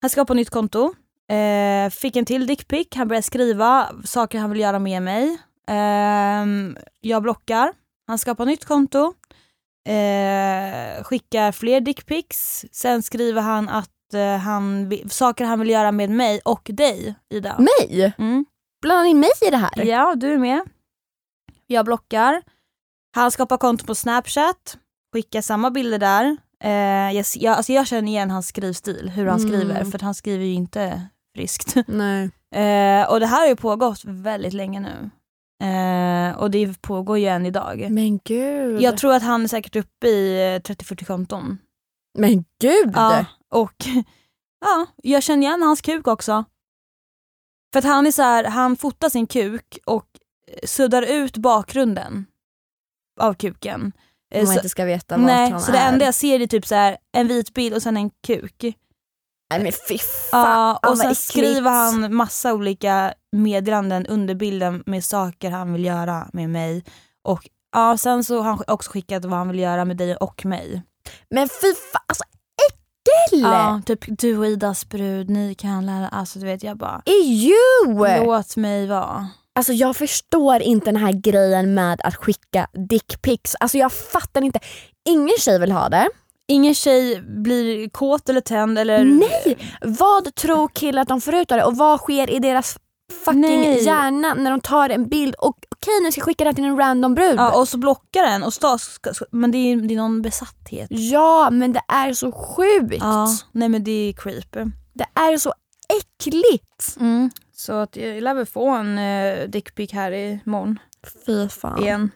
[SPEAKER 2] Han skapade nytt konto. Eh, Fick en till dickpic. Han började skriva saker han vill göra med mig. Ehm, Jag blockar. Han skapar nytt konto. Eh, Skickar fler dickpics. Sen skriver han att eh, han, vi- saker han vill göra med mig och dig Ida.
[SPEAKER 1] Mig?
[SPEAKER 2] Mm.
[SPEAKER 1] Blandar ni mig i det här?
[SPEAKER 2] Ja, du är med. Jag blockar. Han skapar konto på Snapchat, skickar samma bilder där. Eh, jag, jag, alltså jag känner igen hans skrivstil, hur han
[SPEAKER 1] Mm.
[SPEAKER 2] skriver, för att han skriver ju inte friskt.
[SPEAKER 1] Nej.
[SPEAKER 2] Eh, och det här har ju pågått väldigt länge nu. Eh, och det pågår ju än idag.
[SPEAKER 1] Men gud.
[SPEAKER 2] Jag tror att han är säkert uppe i eh, 30-40 konton.
[SPEAKER 1] Men gud!
[SPEAKER 2] Ja, och ja, jag känner igen hans kuk också. För att han är så här, han fotar sin kuk och eh, suddar ut bakgrunden av kuken. Eh,
[SPEAKER 1] Om man
[SPEAKER 2] så,
[SPEAKER 1] inte ska veta vart
[SPEAKER 2] nej,
[SPEAKER 1] han
[SPEAKER 2] så det
[SPEAKER 1] är.
[SPEAKER 2] enda jag ser är typ så här, en vit bild och sen en kuk.
[SPEAKER 1] Nej men fy fan.
[SPEAKER 2] Ja, och
[SPEAKER 1] vad
[SPEAKER 2] sen
[SPEAKER 1] äckligt.
[SPEAKER 2] skriver han massa olika meddelanden under bilden med saker han vill göra med mig. Och ja, sen så har han också skickat vad han vill göra med dig och mig.
[SPEAKER 1] Men fy fan, alltså äckel!
[SPEAKER 2] Ja, typ du och Idas brud, ni kan lära, alltså du vet jag bara
[SPEAKER 1] Ew!
[SPEAKER 2] låt mig vara.
[SPEAKER 1] Alltså jag förstår inte den här grejen med att skicka dickpics. Alltså jag fattar inte. Ingen tjej vill ha det.
[SPEAKER 2] Ingen tjej blir kåt eller tänd eller
[SPEAKER 1] Nej! Vad tror killar att de får ut av det och vad sker i deras fucking
[SPEAKER 2] Nej.
[SPEAKER 1] hjärna när de tar en bild och okej nu ska jag skicka den till en random brud.
[SPEAKER 2] Ja, och så blockar den och stas, ska, ska, men det är, det är någon besatthet.
[SPEAKER 1] Ja, men det är så sjukt.
[SPEAKER 2] Ja, nej men det är creep.
[SPEAKER 1] Det är så äckligt.
[SPEAKER 2] Så att jag lär väl få en uh, dickpic här imorgon.
[SPEAKER 1] Fy fan.
[SPEAKER 2] igen.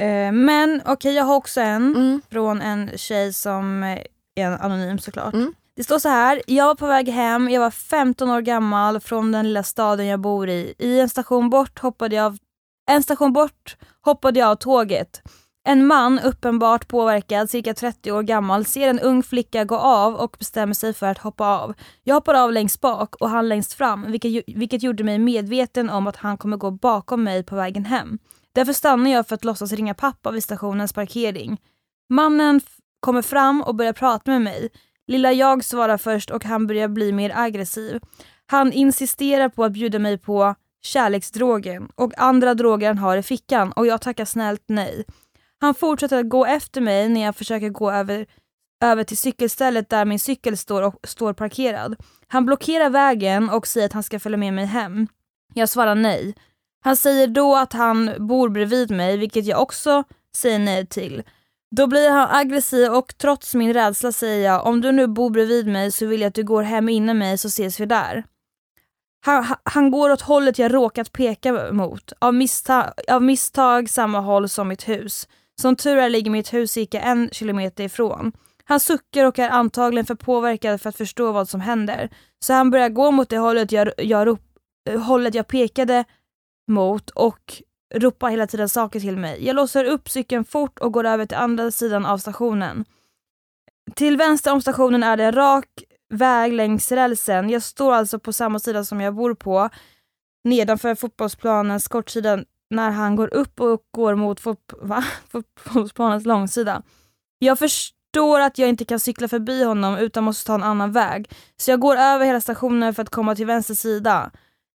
[SPEAKER 2] Eh, men okej, jag har också en
[SPEAKER 1] Mm.
[SPEAKER 2] från en tjej som eh, är anonym såklart.
[SPEAKER 1] Mm.
[SPEAKER 2] Det står så här, jag var på väg hem, jag var 15 år gammal från den lilla staden jag bor i. I en station bort hoppade jag av, en station bort hoppade jag av tåget. En man, uppenbart påverkad, cirka 30 år gammal, ser en ung flicka gå av och bestämmer sig för att hoppa av. Jag hoppar av längst bak och han längst fram, vilket, ju- vilket gjorde mig medveten om att han kommer gå bakom mig på vägen hem. Därför stannar jag för att låtsas ringa pappa vid stationens parkering. Mannen f- kommer fram och börjar prata med mig. Lilla jag svarar först och han börjar bli mer aggressiv. Han insisterar på att bjuda mig på kärleksdrogen och andra droger han har i fickan och jag tackar snällt nej. Han fortsätter att gå efter mig när jag försöker gå över, över till cykelstället där min cykel står, och, står parkerad. Han blockerar vägen och säger att han ska följa med mig hem. Jag svarar nej. Han säger då att han bor bredvid mig, vilket jag också säger nej till. Då blir han aggressiv och trots min rädsla säger jag om du nu bor bredvid mig så vill jag att du går hem innan mig så ses vi där. Han, han- han går åt hållet jag råkat peka mot, av misstag, av misstag samma håll som mitt hus. Som tur är ligger mitt hus cirka en kilometer ifrån. Han suckar och är antagligen för påverkad för att förstå vad som händer. Så han börjar gå mot det hållet jag, jag, rop, eh, hållet jag pekade mot och ropar hela tiden saker till mig. Jag låser upp cykeln fort och går över till andra sidan av stationen. Till vänster om stationen är det en rak väg längs rälsen. Jag står alltså på samma sida som jag bor på, nedanför fotbollsplanens kortsida när han går upp och går mot fot- va? fotbollsplanens långsida. Jag förstår att jag inte kan cykla förbi honom utan måste ta en annan väg, så jag går över hela stationen för att komma till vänster sida.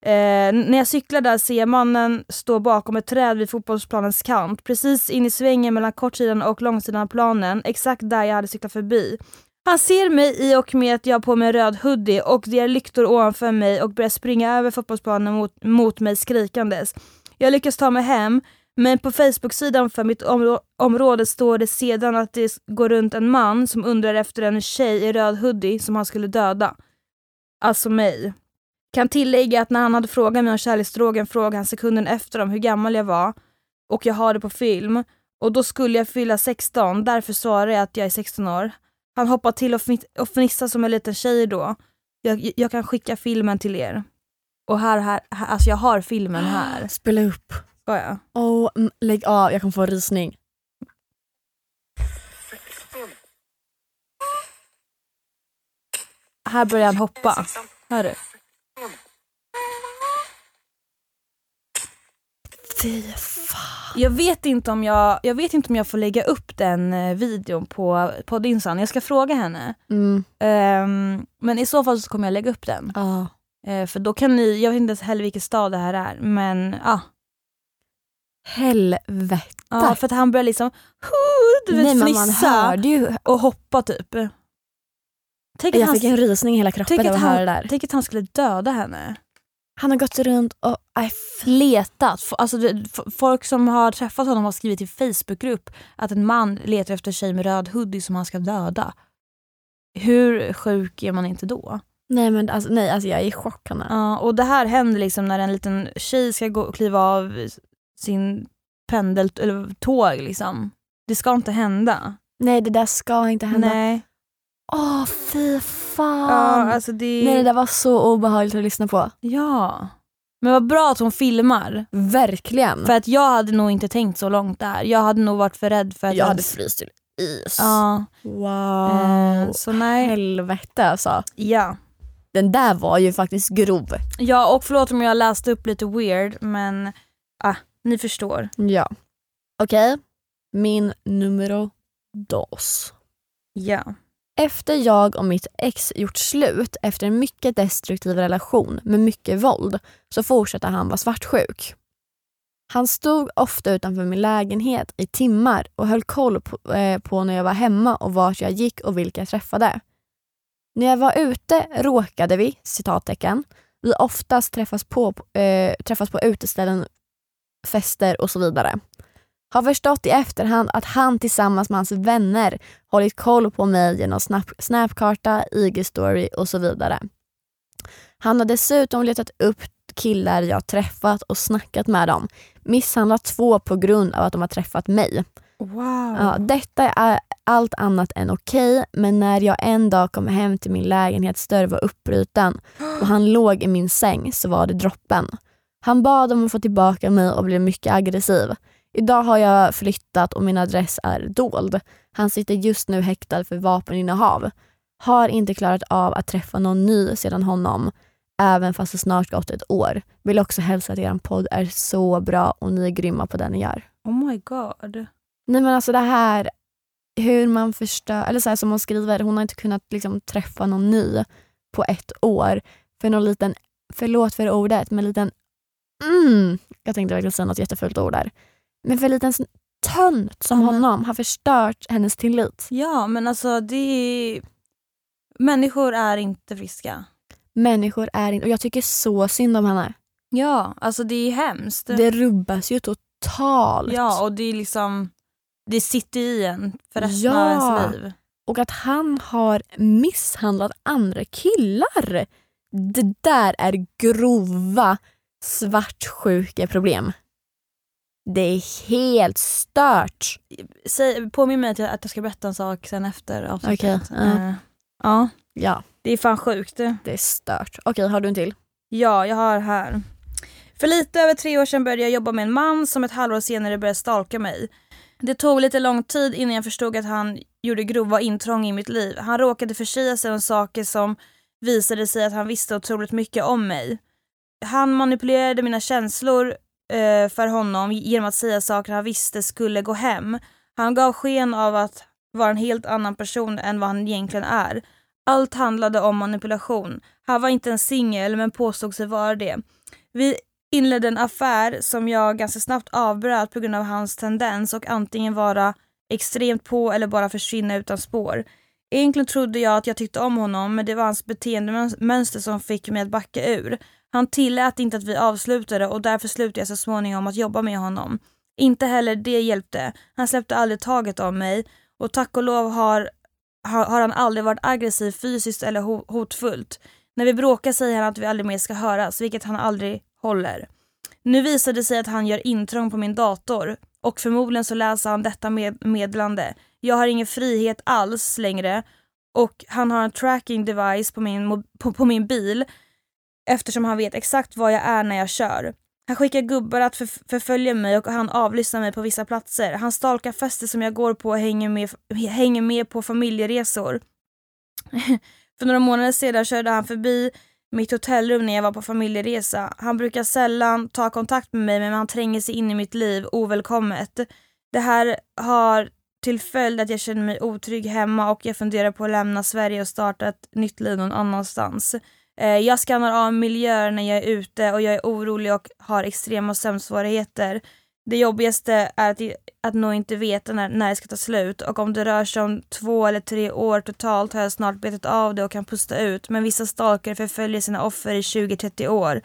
[SPEAKER 2] Eh, när jag cyklar där ser jag mannen stå bakom ett träd vid fotbollsplanens kant, precis in i svängen mellan kortsidan och långsidan av planen, exakt där jag hade cyklat förbi. Han ser mig i och med att jag har på mig en röd hoodie och det är lyktor ovanför mig och börjar springa över fotbollsplanen mot, mot mig skrikandes. Jag lyckas ta mig hem, men på Facebook-sidan för mitt områ- område står det sedan att det s- går runt en man som undrar efter en tjej i röd hoodie som han skulle döda. Alltså mig. Kan tillägga att när han hade frågat mig om kärleksdrogen frågade han sekunden efter om hur gammal jag var och jag har det på film och då skulle jag fylla 16, därför svarar jag att jag är 16 år. Han hoppar till och, fnitt, och fnissar som en liten tjej då. Jag, jag kan skicka filmen till er. Och här, här, här alltså jag har filmen här.
[SPEAKER 1] Spela upp.
[SPEAKER 2] Ska jag?
[SPEAKER 1] Oh, mm, lägg av, jag kommer få rysning.
[SPEAKER 2] Här börjar han hoppa. Hör du?
[SPEAKER 1] Fy fan.
[SPEAKER 2] Jag vet inte om jag, jag, vet inte om jag får lägga upp den eh, videon på poddinsan. Jag ska fråga henne.
[SPEAKER 1] Mm.
[SPEAKER 2] Ehm, men i så fall så kommer jag lägga upp den.
[SPEAKER 1] Ja.
[SPEAKER 2] Eh, för då kan ni, jag vet inte ens heller vilken stad det här är, men ja.
[SPEAKER 1] Helvete.
[SPEAKER 2] ja
[SPEAKER 1] Där.
[SPEAKER 2] för att han börjar liksom du vet,
[SPEAKER 1] Nej men man
[SPEAKER 2] fnissa
[SPEAKER 1] hörde ju.
[SPEAKER 2] och hoppa typ. Tänk att,
[SPEAKER 1] Jag
[SPEAKER 2] han,
[SPEAKER 1] fick en rysning i hela
[SPEAKER 2] tänk,
[SPEAKER 1] kroppen av
[SPEAKER 2] att
[SPEAKER 1] att höra det
[SPEAKER 2] han,
[SPEAKER 1] där.
[SPEAKER 2] tänk att han skulle döda henne.
[SPEAKER 1] Han har gått runt och... Aj, fy.
[SPEAKER 2] letat. F- Alltså, det- f- folk som har träffat honom har skrivit i Facebookgrupp att en man letar efter en tjej med röd hoodie som han ska döda. Hur sjuk är man inte då?
[SPEAKER 1] Nej men alltså, nej, alltså jag är i chock Hanna.
[SPEAKER 2] Ja, och det här händer liksom när en liten tjej ska gå och kliva av sin pendel eller tåg liksom. Det ska inte hända.
[SPEAKER 1] Nej det där ska inte hända.
[SPEAKER 2] Nej.
[SPEAKER 1] Åh fy fan.
[SPEAKER 2] Ja, alltså det...
[SPEAKER 1] Nej Ah. det där var så obehagligt att lyssna på.
[SPEAKER 2] ja. Men vad bra att hon filmar.
[SPEAKER 1] Verkligen.
[SPEAKER 2] För att jag hade nog inte tänkt så långt där. Jag hade nog varit för rädd för att...
[SPEAKER 1] jag hade fryst till is.
[SPEAKER 2] Ja.
[SPEAKER 1] Wow.
[SPEAKER 2] eh, Så nej.
[SPEAKER 1] Helvete alltså.
[SPEAKER 2] Ja.
[SPEAKER 1] Den där var ju faktiskt grov.
[SPEAKER 2] ja, och förlåt om jag läste upp lite weird men ah, ni förstår.
[SPEAKER 1] Ja. Okej, min numero dos.
[SPEAKER 2] Ja.
[SPEAKER 1] Efter jag och mitt ex gjort slut efter en mycket destruktiv relation med mycket våld så fortsatte han vara svartsjuk. Han stod ofta utanför min lägenhet i timmar och höll koll på, eh, på när jag var hemma och vart jag gick och vilka jag träffade. När jag var ute råkade vi, citattecken, vi oftast träffas på, eh, träffas på uteställen, fester och så vidare. Har förstått i efterhand att han tillsammans med hans vänner hållit koll på mig genom snap snapkarta, IG-story och så vidare. Han har dessutom letat upp killar jag träffat och snackat med dem. Misshandlat två på grund av att de har träffat mig.
[SPEAKER 2] Wow.
[SPEAKER 1] Ja, detta är allt annat än okej men när jag en dag kom hem till min lägenhets dörr var uppbruten och han låg i min säng så var det droppen. Han bad om att få tillbaka mig och blev mycket aggressiv. Idag har jag flyttat och min adress är dold. Han sitter just nu häktad för vapeninnehav. Har inte klarat av att träffa någon ny sedan honom, även fast det snart gått ett år. Vill också hälsa att er podd är så bra och ni är grymma på det ni gör.
[SPEAKER 2] Oh my god.
[SPEAKER 1] Nej men alltså det här hur man förstör, eller så här som hon skriver, hon har inte kunnat liksom träffa någon ny på ett år för någon liten, förlåt för ordet, men liten mm, jag tänkte verkligen säga något jättefult ord där, men för en liten sån tönt som
[SPEAKER 2] Mm.
[SPEAKER 1] honom har förstört hennes tillit.
[SPEAKER 2] Ja men alltså det är... Människor är inte friska.
[SPEAKER 1] Människor är inte, och jag tycker så synd om henne.
[SPEAKER 2] Ja, alltså det är hemskt.
[SPEAKER 1] Det rubbas ju totalt.
[SPEAKER 2] ja och det är liksom... Det sitter i en för resten
[SPEAKER 1] Ja.
[SPEAKER 2] av ens liv.
[SPEAKER 1] Och att han har misshandlat andra killar. Det där är grova svartsjukeproblem. Det är helt stört.
[SPEAKER 2] Säg, påminn mig att jag, att jag ska berätta en sak sen efter avsnittet.
[SPEAKER 1] Okej, ja.
[SPEAKER 2] Eh, ja,
[SPEAKER 1] Ja,
[SPEAKER 2] det är fan sjukt.
[SPEAKER 1] det är stört. Okej, har du en till?
[SPEAKER 2] Ja, jag har här. För lite över tre år sedan började jag jobba med en man som ett halvår senare började stalka mig. Det tog lite lång tid innan jag förstod att han gjorde grova intrång i mitt liv. Han råkade försäga sig om saker som visade sig att han visste otroligt mycket om mig. Han manipulerade mina känslor eh, för honom genom att säga saker han visste skulle gå hem. Han gav sken av att vara en helt annan person än vad han egentligen är. Allt handlade om manipulation. Han var inte en singel men påstod sig vara det. Vi inledde en affär som jag ganska snabbt avbröt på grund av hans tendens och antingen vara extremt på eller bara försvinna utan spår. Egentligen trodde jag att jag tyckte om honom men det var hans beteendemönster som fick mig att backa ur. Han tillät inte att vi avslutade och därför slutade jag så småningom att jobba med honom. Inte heller det hjälpte. Han släppte aldrig taget om mig och tack och lov har har, har han aldrig varit aggressiv fysiskt eller ho- hotfullt. När vi bråkar säger han att vi aldrig mer ska höras, vilket han aldrig håller. Nu visar det sig att han gör intrång på min dator och förmodligen så läser han detta med- meddelande. Jag har ingen frihet alls längre och han har en tracking device på min, mo- på, på min bil eftersom han vet exakt var jag är när jag kör. Han skickar gubbar att förf- förfölja mig och han avlyssnar mig på vissa platser. Han stalkar fester som jag går på och hänger med, hänger med på familjeresor. För några månader sedan körde han förbi mitt hotellrum när jag var på familjeresa. Han brukar sällan ta kontakt med mig men han tränger sig in i mitt liv ovälkommet. Det här har till följd att jag känner mig otrygg hemma och jag funderar på att lämna Sverige och starta ett nytt liv någon annanstans. Eh, Jag skannar av miljöer när jag är ute och jag är orolig och har extrema sömnsvårigheter. Det jobbigaste är att, att nog inte veta när, när det ska ta slut och om det rör sig om två eller tre år totalt har jag snart betat av det och kan pusta ut men vissa stalkare förföljer sina offer i 20-30 år.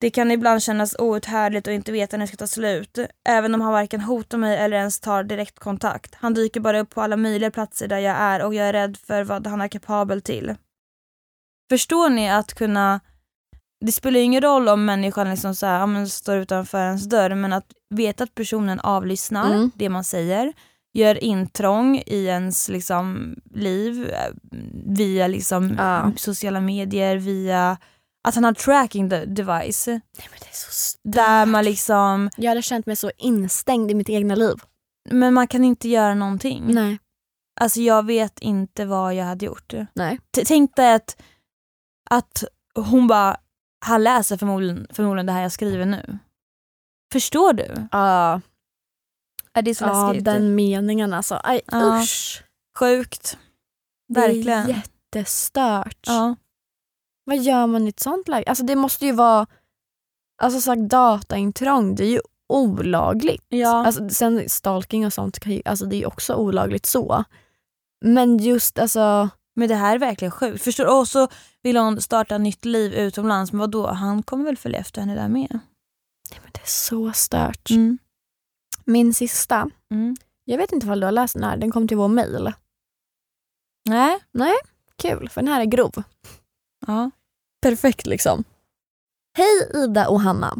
[SPEAKER 2] Det kan ibland kännas outhärdligt och inte veta när det ska ta slut, även om han varken hotar mig eller ens tar direktkontakt. Han dyker bara upp på alla möjliga platser där jag är och jag är rädd för vad han är kapabel till. Förstår ni att kunna det spelar ju ingen roll om människan liksom så här, ja, men står utanför ens dörr men att veta att personen avlyssnar
[SPEAKER 1] Mm.
[SPEAKER 2] det man säger, gör intrång i ens liksom, liv eh, via liksom,
[SPEAKER 1] Ja.
[SPEAKER 2] sociala medier, via att han har tracking de- device
[SPEAKER 1] Nej, men det är så st-
[SPEAKER 2] där man liksom,
[SPEAKER 1] jag hade känt mig så instängd i mitt egna liv.
[SPEAKER 2] men man kan inte göra någonting.
[SPEAKER 1] Mm. Nej.
[SPEAKER 2] Alltså jag vet inte vad jag hade gjort.
[SPEAKER 1] Nej.
[SPEAKER 2] T- Tänk dig att, att hon bara, han läser förmodligen, förmodligen det här jag skriver nu. Förstår du?
[SPEAKER 1] Ja,
[SPEAKER 2] Är det är så
[SPEAKER 1] ja
[SPEAKER 2] läskigt.
[SPEAKER 1] Ah, den meningen alltså. Aj,
[SPEAKER 2] Ja.
[SPEAKER 1] usch.
[SPEAKER 2] Sjukt. Verkligen.
[SPEAKER 1] Det är jättestört.
[SPEAKER 2] Ja.
[SPEAKER 1] Vad gör man i ett sånt läge? Alltså det måste ju vara... Alltså sagt dataintrång, det är ju olagligt.
[SPEAKER 2] Ja.
[SPEAKER 1] Alltså, sen stalking och sånt, kan ju, alltså det är ju också olagligt så. Men just alltså...
[SPEAKER 2] Men det här är verkligen sjukt. Förstår du? Och så vill hon starta nytt liv utomlands, men då? Han kommer väl följa efter henne där med?
[SPEAKER 1] Nej, men det är så stört.
[SPEAKER 2] Mm.
[SPEAKER 1] Min sista.
[SPEAKER 2] Mm.
[SPEAKER 1] Jag vet inte ifall du har läst den här, den kom till vår mail.
[SPEAKER 2] Nej.
[SPEAKER 1] Kul, för den här är grov.
[SPEAKER 2] Ja.
[SPEAKER 1] perfekt liksom. Hej Ida och Hanna.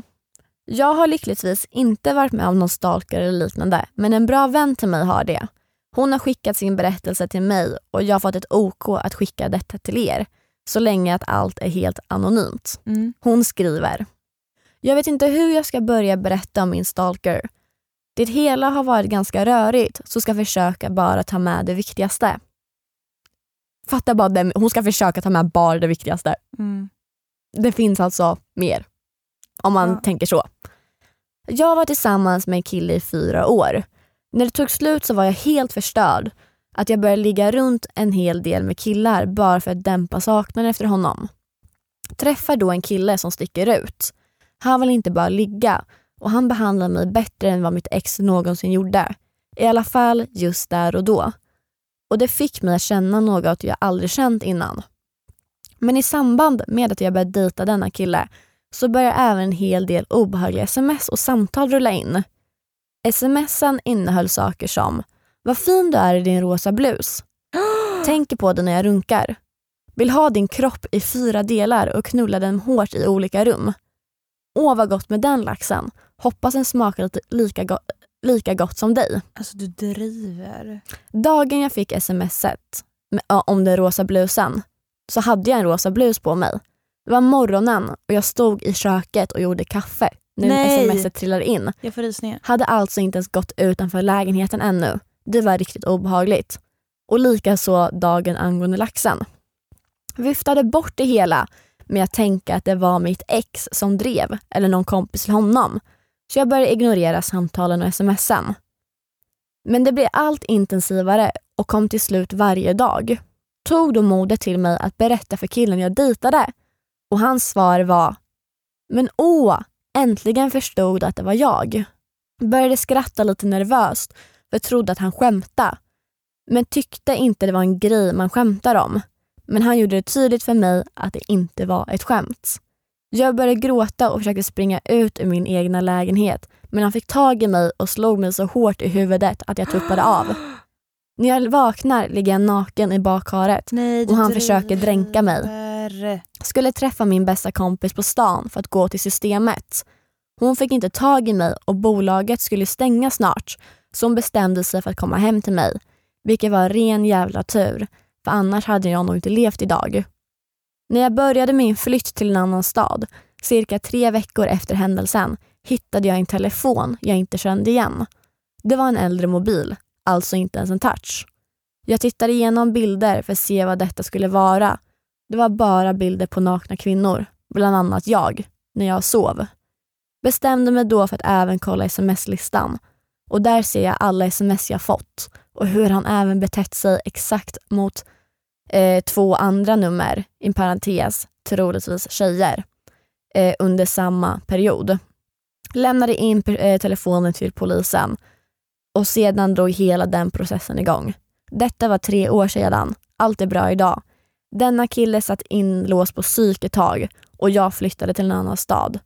[SPEAKER 1] Jag har lyckligtvis inte varit med om någon stalker eller liknande men en bra vän till mig har det. Hon har skickat sin berättelse till mig och jag har fått ett OK att skicka detta till er så länge att allt är helt anonymt.
[SPEAKER 2] Mm.
[SPEAKER 1] Hon skriver. Jag vet inte hur jag ska börja berätta om min stalker. Det hela har varit ganska rörigt så ska försöka bara ta med det viktigaste. Fatta bara, det, hon ska försöka ta med bara det viktigaste.
[SPEAKER 2] Mm.
[SPEAKER 1] Det finns alltså mer. Om man
[SPEAKER 2] Ja.
[SPEAKER 1] tänker så. Jag var tillsammans med en kille i fyra år. När det tog slut så var jag helt förstörd. Att jag började ligga runt en hel del med killar bara för att dämpa saknaden efter honom. Träffar då en kille som sticker ut. Han vill inte bara ligga och han behandlar mig bättre än vad mitt ex någonsin gjorde. I alla fall just där och då. Och det fick mig att känna något jag aldrig känt innan. Men i samband med att jag började dejta denna kille så började även en hel del obehagliga sms och samtal rulla in. Smsen innehöll saker som “Vad fin du är i din rosa blus”, “Tänker på dig när jag runkar”, “Vill ha din kropp i fyra delar och knulla den hårt i olika rum”, “Åh vad gott med den laxen, hoppas den smakar lite lika, go- lika gott som dig”.
[SPEAKER 2] Alltså du driver.
[SPEAKER 1] Dagen jag fick smset med- ja, om den rosa blusen så hade jag en rosa blus på mig. Det var morgonen och jag stod i köket och gjorde kaffe när
[SPEAKER 2] Nej.
[SPEAKER 1] smset trillade in.
[SPEAKER 2] Jag får rysningar.
[SPEAKER 1] Hade alltså inte ens gått utanför lägenheten ännu. Det var riktigt obehagligt. Och likaså dagen angående laxen. Viftade bort det hela med att tänka att det var mitt ex som drev eller någon kompis till honom. Så jag började ignorera samtalen och smsen. Men det blev allt intensivare och kom till slut varje dag. Tog då modet till mig att berätta för killen jag dejtade och hans svar var “Men åh, äntligen förstod att det var jag”. Började skratta lite nervöst för trodde att han skämtade. Men tyckte inte det var en grej man skämtar om. Men han gjorde det tydligt för mig att det inte var ett skämt. Jag började gråta och försökte springa ut ur min egna lägenhet men han fick tag i mig och slog mig så hårt i huvudet att jag tuppade av. När jag vaknar ligger jag naken i bakharet
[SPEAKER 2] Nej,
[SPEAKER 1] Och han försöker dränka mig.
[SPEAKER 2] driver.
[SPEAKER 1] skulle träffa min bästa kompis på stan för att gå till systemet. Hon fick inte tag i mig och bolaget skulle stänga snart så hon bestämde sig för att komma hem till mig. Vilket var ren jävla tur, för annars hade jag nog inte levt idag. När jag började min flytt till en annan stad, cirka tre veckor efter händelsen, hittade jag en telefon jag inte kände igen. Det var en äldre mobil, alltså inte ens en touch. Jag tittade igenom bilder för att se vad detta skulle vara det var bara bilder på nakna kvinnor, bland annat jag, när jag sov. Bestämde mig då för att även kolla sms-listan och där ser jag alla sms jag fått och hur han även betett sig exakt mot eh, två andra nummer, i parentes, troligtvis tjejer, eh, under samma period. Lämnade in per- eh, telefonen till polisen och sedan drog hela den processen igång. Detta var tre år sedan. Allt är bra idag. Denna kille satt inlåst på psyk ett tag och jag flyttade till en annan stad.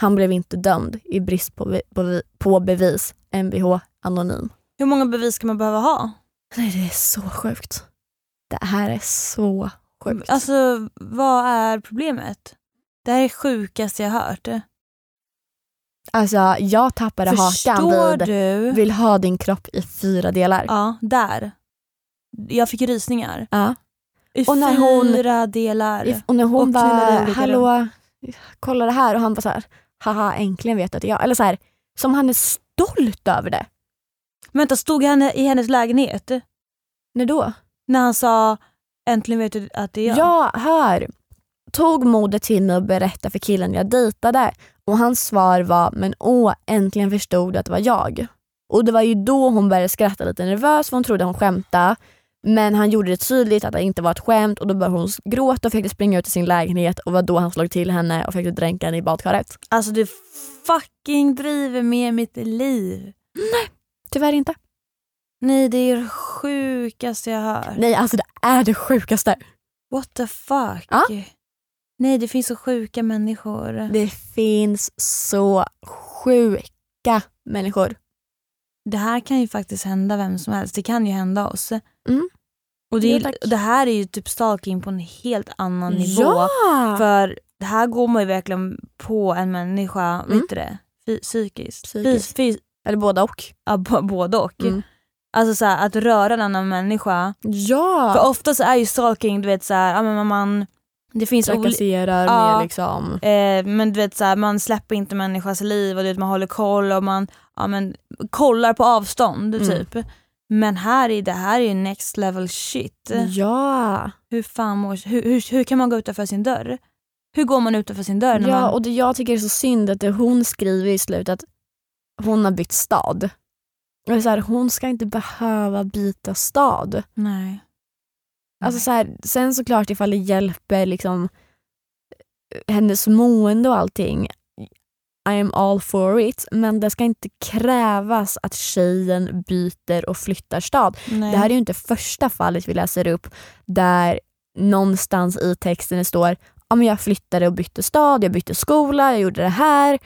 [SPEAKER 1] Han blev inte dömd i brist på, be- på, vi- på bevis. Mvh anonym.
[SPEAKER 2] Hur många bevis ska man behöva ha?
[SPEAKER 1] Nej, det är så sjukt. Det här är så sjukt.
[SPEAKER 2] Alltså vad är problemet? Det här är det sjukaste jag hört.
[SPEAKER 1] Alltså jag tappade
[SPEAKER 2] Förstår
[SPEAKER 1] hakan vid
[SPEAKER 2] du?
[SPEAKER 1] vill ha din kropp i fyra delar.
[SPEAKER 2] Ja, där. Jag fick rysningar.
[SPEAKER 1] Ja.
[SPEAKER 2] I
[SPEAKER 1] Och när hon-
[SPEAKER 2] fyra delar.
[SPEAKER 1] I- Och när hon
[SPEAKER 2] Och knullade
[SPEAKER 1] bara,
[SPEAKER 2] olika
[SPEAKER 1] hallå, kolla det här och han bara så här, haha äntligen vet jag att det är jag. Eller så här, som han är stolt över det.
[SPEAKER 2] Vänta, stod han i hennes lägenhet
[SPEAKER 1] När då?
[SPEAKER 2] när han sa äntligen vet du att det är jag?
[SPEAKER 1] Jag hör, tog modet till mig och berättade för killen jag dejtade och hans svar var, men åh äntligen förstod du att det var jag. Och det var ju då hon började skratta lite nervös för hon trodde hon skämtade. Men han gjorde det tydligt att det inte var ett skämt och då började hon gråta och fick springa ut till sin lägenhet och var då han slog till henne och fick dränka henne i badkaret.
[SPEAKER 2] Alltså du fucking driver med mitt liv.
[SPEAKER 1] Tyvärr inte.
[SPEAKER 2] Nej, det är det sjukaste jag hört.
[SPEAKER 1] Nej, alltså det är det sjukaste.
[SPEAKER 2] What the fuck?
[SPEAKER 1] Ja.
[SPEAKER 2] Nej, det finns så sjuka människor.
[SPEAKER 1] Det finns så sjuka människor.
[SPEAKER 2] Det här kan ju faktiskt hända vem som helst. Det kan ju hända oss.
[SPEAKER 1] Mm.
[SPEAKER 2] Och det,
[SPEAKER 1] Jo,
[SPEAKER 2] är,
[SPEAKER 1] tack.
[SPEAKER 2] ju- det här är ju typ stalking på en helt annan nivå.
[SPEAKER 1] Ja!
[SPEAKER 2] För det här går man ju verkligen på en människa,
[SPEAKER 1] Mm.
[SPEAKER 2] vet du det? Fy, psykiskt.
[SPEAKER 1] Psykiskt.
[SPEAKER 2] Fy, fy,
[SPEAKER 1] Eller båda och.
[SPEAKER 2] ja, b- både och.
[SPEAKER 1] Mm.
[SPEAKER 2] Alltså så här, att röra en annan människa.
[SPEAKER 1] Ja!
[SPEAKER 2] För ofta så är ju stalking, du vet så här, ja, men man, det finns olika
[SPEAKER 1] Trakasserar
[SPEAKER 2] Ja.
[SPEAKER 1] med liksom...
[SPEAKER 2] Eh, men du vet så här, man släpper inte människans liv och du vet, man håller koll och man ja, men, kollar på avstånd
[SPEAKER 1] Mm.
[SPEAKER 2] typ. Men här är det här är ju next level shit.
[SPEAKER 1] Mm. Ja!
[SPEAKER 2] Hur, fan mår, hur, hur, hur kan man gå utanför sin dörr? Hur går man utanför sin dörr? När
[SPEAKER 1] Ja,
[SPEAKER 2] man,
[SPEAKER 1] och det jag tycker är så synd att det hon skriver i slutet att hon har bytt stad. Och det är så här, hon ska inte behöva byta stad.
[SPEAKER 2] nej.
[SPEAKER 1] Alltså så här, sen såklart ifall det hjälper liksom, eh, hennes mående och allting. I am all for it. Men det ska inte krävas att tjejen byter och flyttar stad.
[SPEAKER 2] nej.
[SPEAKER 1] Det här är ju inte första fallet vi läser upp där någonstans i texten det står ja, men jag flyttade och bytte stad, jag bytte skola, jag gjorde det här.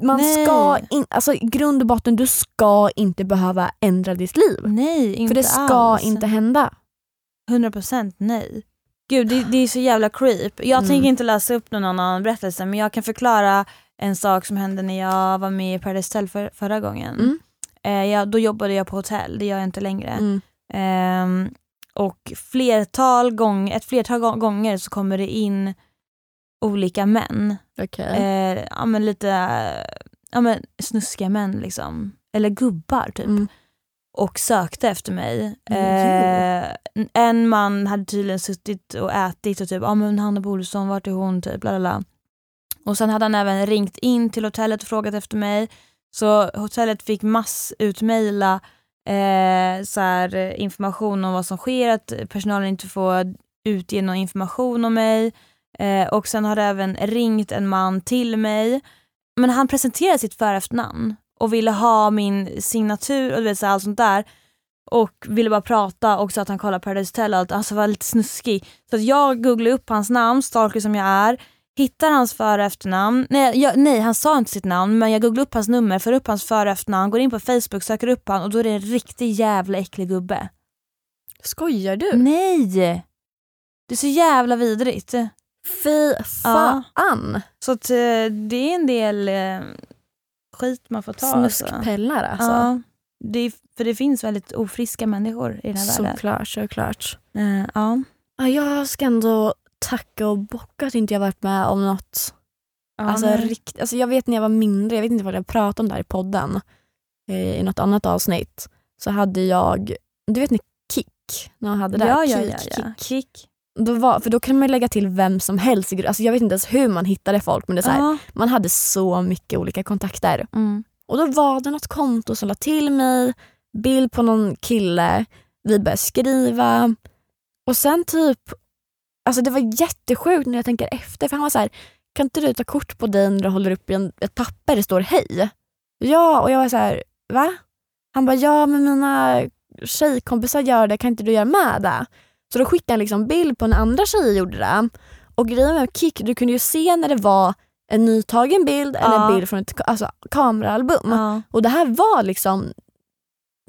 [SPEAKER 1] Man
[SPEAKER 2] Nej.
[SPEAKER 1] ska in, alltså, i grund och botten, du ska inte behöva ändra ditt liv.
[SPEAKER 2] nej, inte
[SPEAKER 1] För det ska
[SPEAKER 2] alls.
[SPEAKER 1] inte hända.
[SPEAKER 2] 100% nej. Gud det, det är så jävla creep. Jag
[SPEAKER 1] Mm.
[SPEAKER 2] tänker inte läsa upp någon annan berättelse men jag kan förklara en sak som hände när jag var med i Paradise Hotel för, förra gången.
[SPEAKER 1] Mm.
[SPEAKER 2] Eh, jag, då jobbade jag på hotell, det gör jag inte längre. Ehm, och flertal gång, ett flertal gång- gånger så kommer det in olika män.
[SPEAKER 1] Okej.
[SPEAKER 2] Eh, ja, men lite ja, men snuskiga män liksom. Eller gubbar typ
[SPEAKER 1] Mm.
[SPEAKER 2] och sökte efter mig.
[SPEAKER 1] Mm,
[SPEAKER 2] Eh, en man hade tydligen suttit och ätit och typ, ja ah, men Hanna Bolsson, vart är hon? Typ, bla, bla, bla. Och sen hade han även ringt in till hotellet och frågat efter mig. Så hotellet fick massutmejla eh, så här, eh, information om vad som sker, att personalen inte får utge någon information om mig. Eh, och sen har det även ringt en man till mig. Men han presenterade sitt för och efternamn och ville ha min signatur och du vet, så här, allt sånt där. Och ville bara prata och sa att han kollar Paradise Hotel och allt. Alltså var lite snuskig. Så att jag googlade upp hans namn, stalker som jag är. Hittar hans för och efternamn. Nej, jag, nej, han sa inte sitt namn men jag googlade upp hans nummer, för upp hans för och efternamn, går in på Facebook, söker upp han och då är det en riktig jävla äcklig gubbe.
[SPEAKER 1] Skojar du?
[SPEAKER 2] Nej! Det är så jävla vidrigt.
[SPEAKER 1] Fy fan.
[SPEAKER 2] Så att, eh, det är en del eh, skit man får ta. alltså.
[SPEAKER 1] Snuskpellar alltså.
[SPEAKER 2] Ja, det är, för det finns väldigt ofriska människor i den här världen.
[SPEAKER 1] såklart, såklart.
[SPEAKER 2] Eh, ja.
[SPEAKER 1] Ja, jag ska ändå tacka och bocka att inte jag varit med om något Alltså,
[SPEAKER 2] nej.
[SPEAKER 1] rikt, alltså jag vet när jag var mindre, jag vet inte vad jag pratade om där i podden, eh, i något annat avsnitt, så hade jag, du vet när Kik, när han hade det där,
[SPEAKER 2] ja, ja,
[SPEAKER 1] Kik,
[SPEAKER 2] ja, ja.
[SPEAKER 1] Kik.
[SPEAKER 2] Kick.
[SPEAKER 1] Då var, för då kan man ju lägga till vem som helst, i gru- alltså jag vet inte ens hur man hittade folk men det är så här,
[SPEAKER 2] Ja.
[SPEAKER 1] man hade så mycket olika kontakter.
[SPEAKER 2] Mm.
[SPEAKER 1] Och då var det något konto som la till mig, bild på någon kille, vi började skriva. Och sen typ, alltså det var jättesjukt när jag tänker efter för han var så här, kan inte du ta kort på dig när du håller upp i en, ett papper det står hej? Ja, och jag var så här, va? Han bara, ja men mina tjejkompisar gör det, kan inte du göra med det? Så då skickade han liksom bild på när andra tjejer gjorde det. Och grejen med Kik, du kunde ju se när det var en nytagen bild eller
[SPEAKER 2] Ja.
[SPEAKER 1] en bild från ett ka- alltså, kameraalbum.
[SPEAKER 2] Ja.
[SPEAKER 1] Och det här var liksom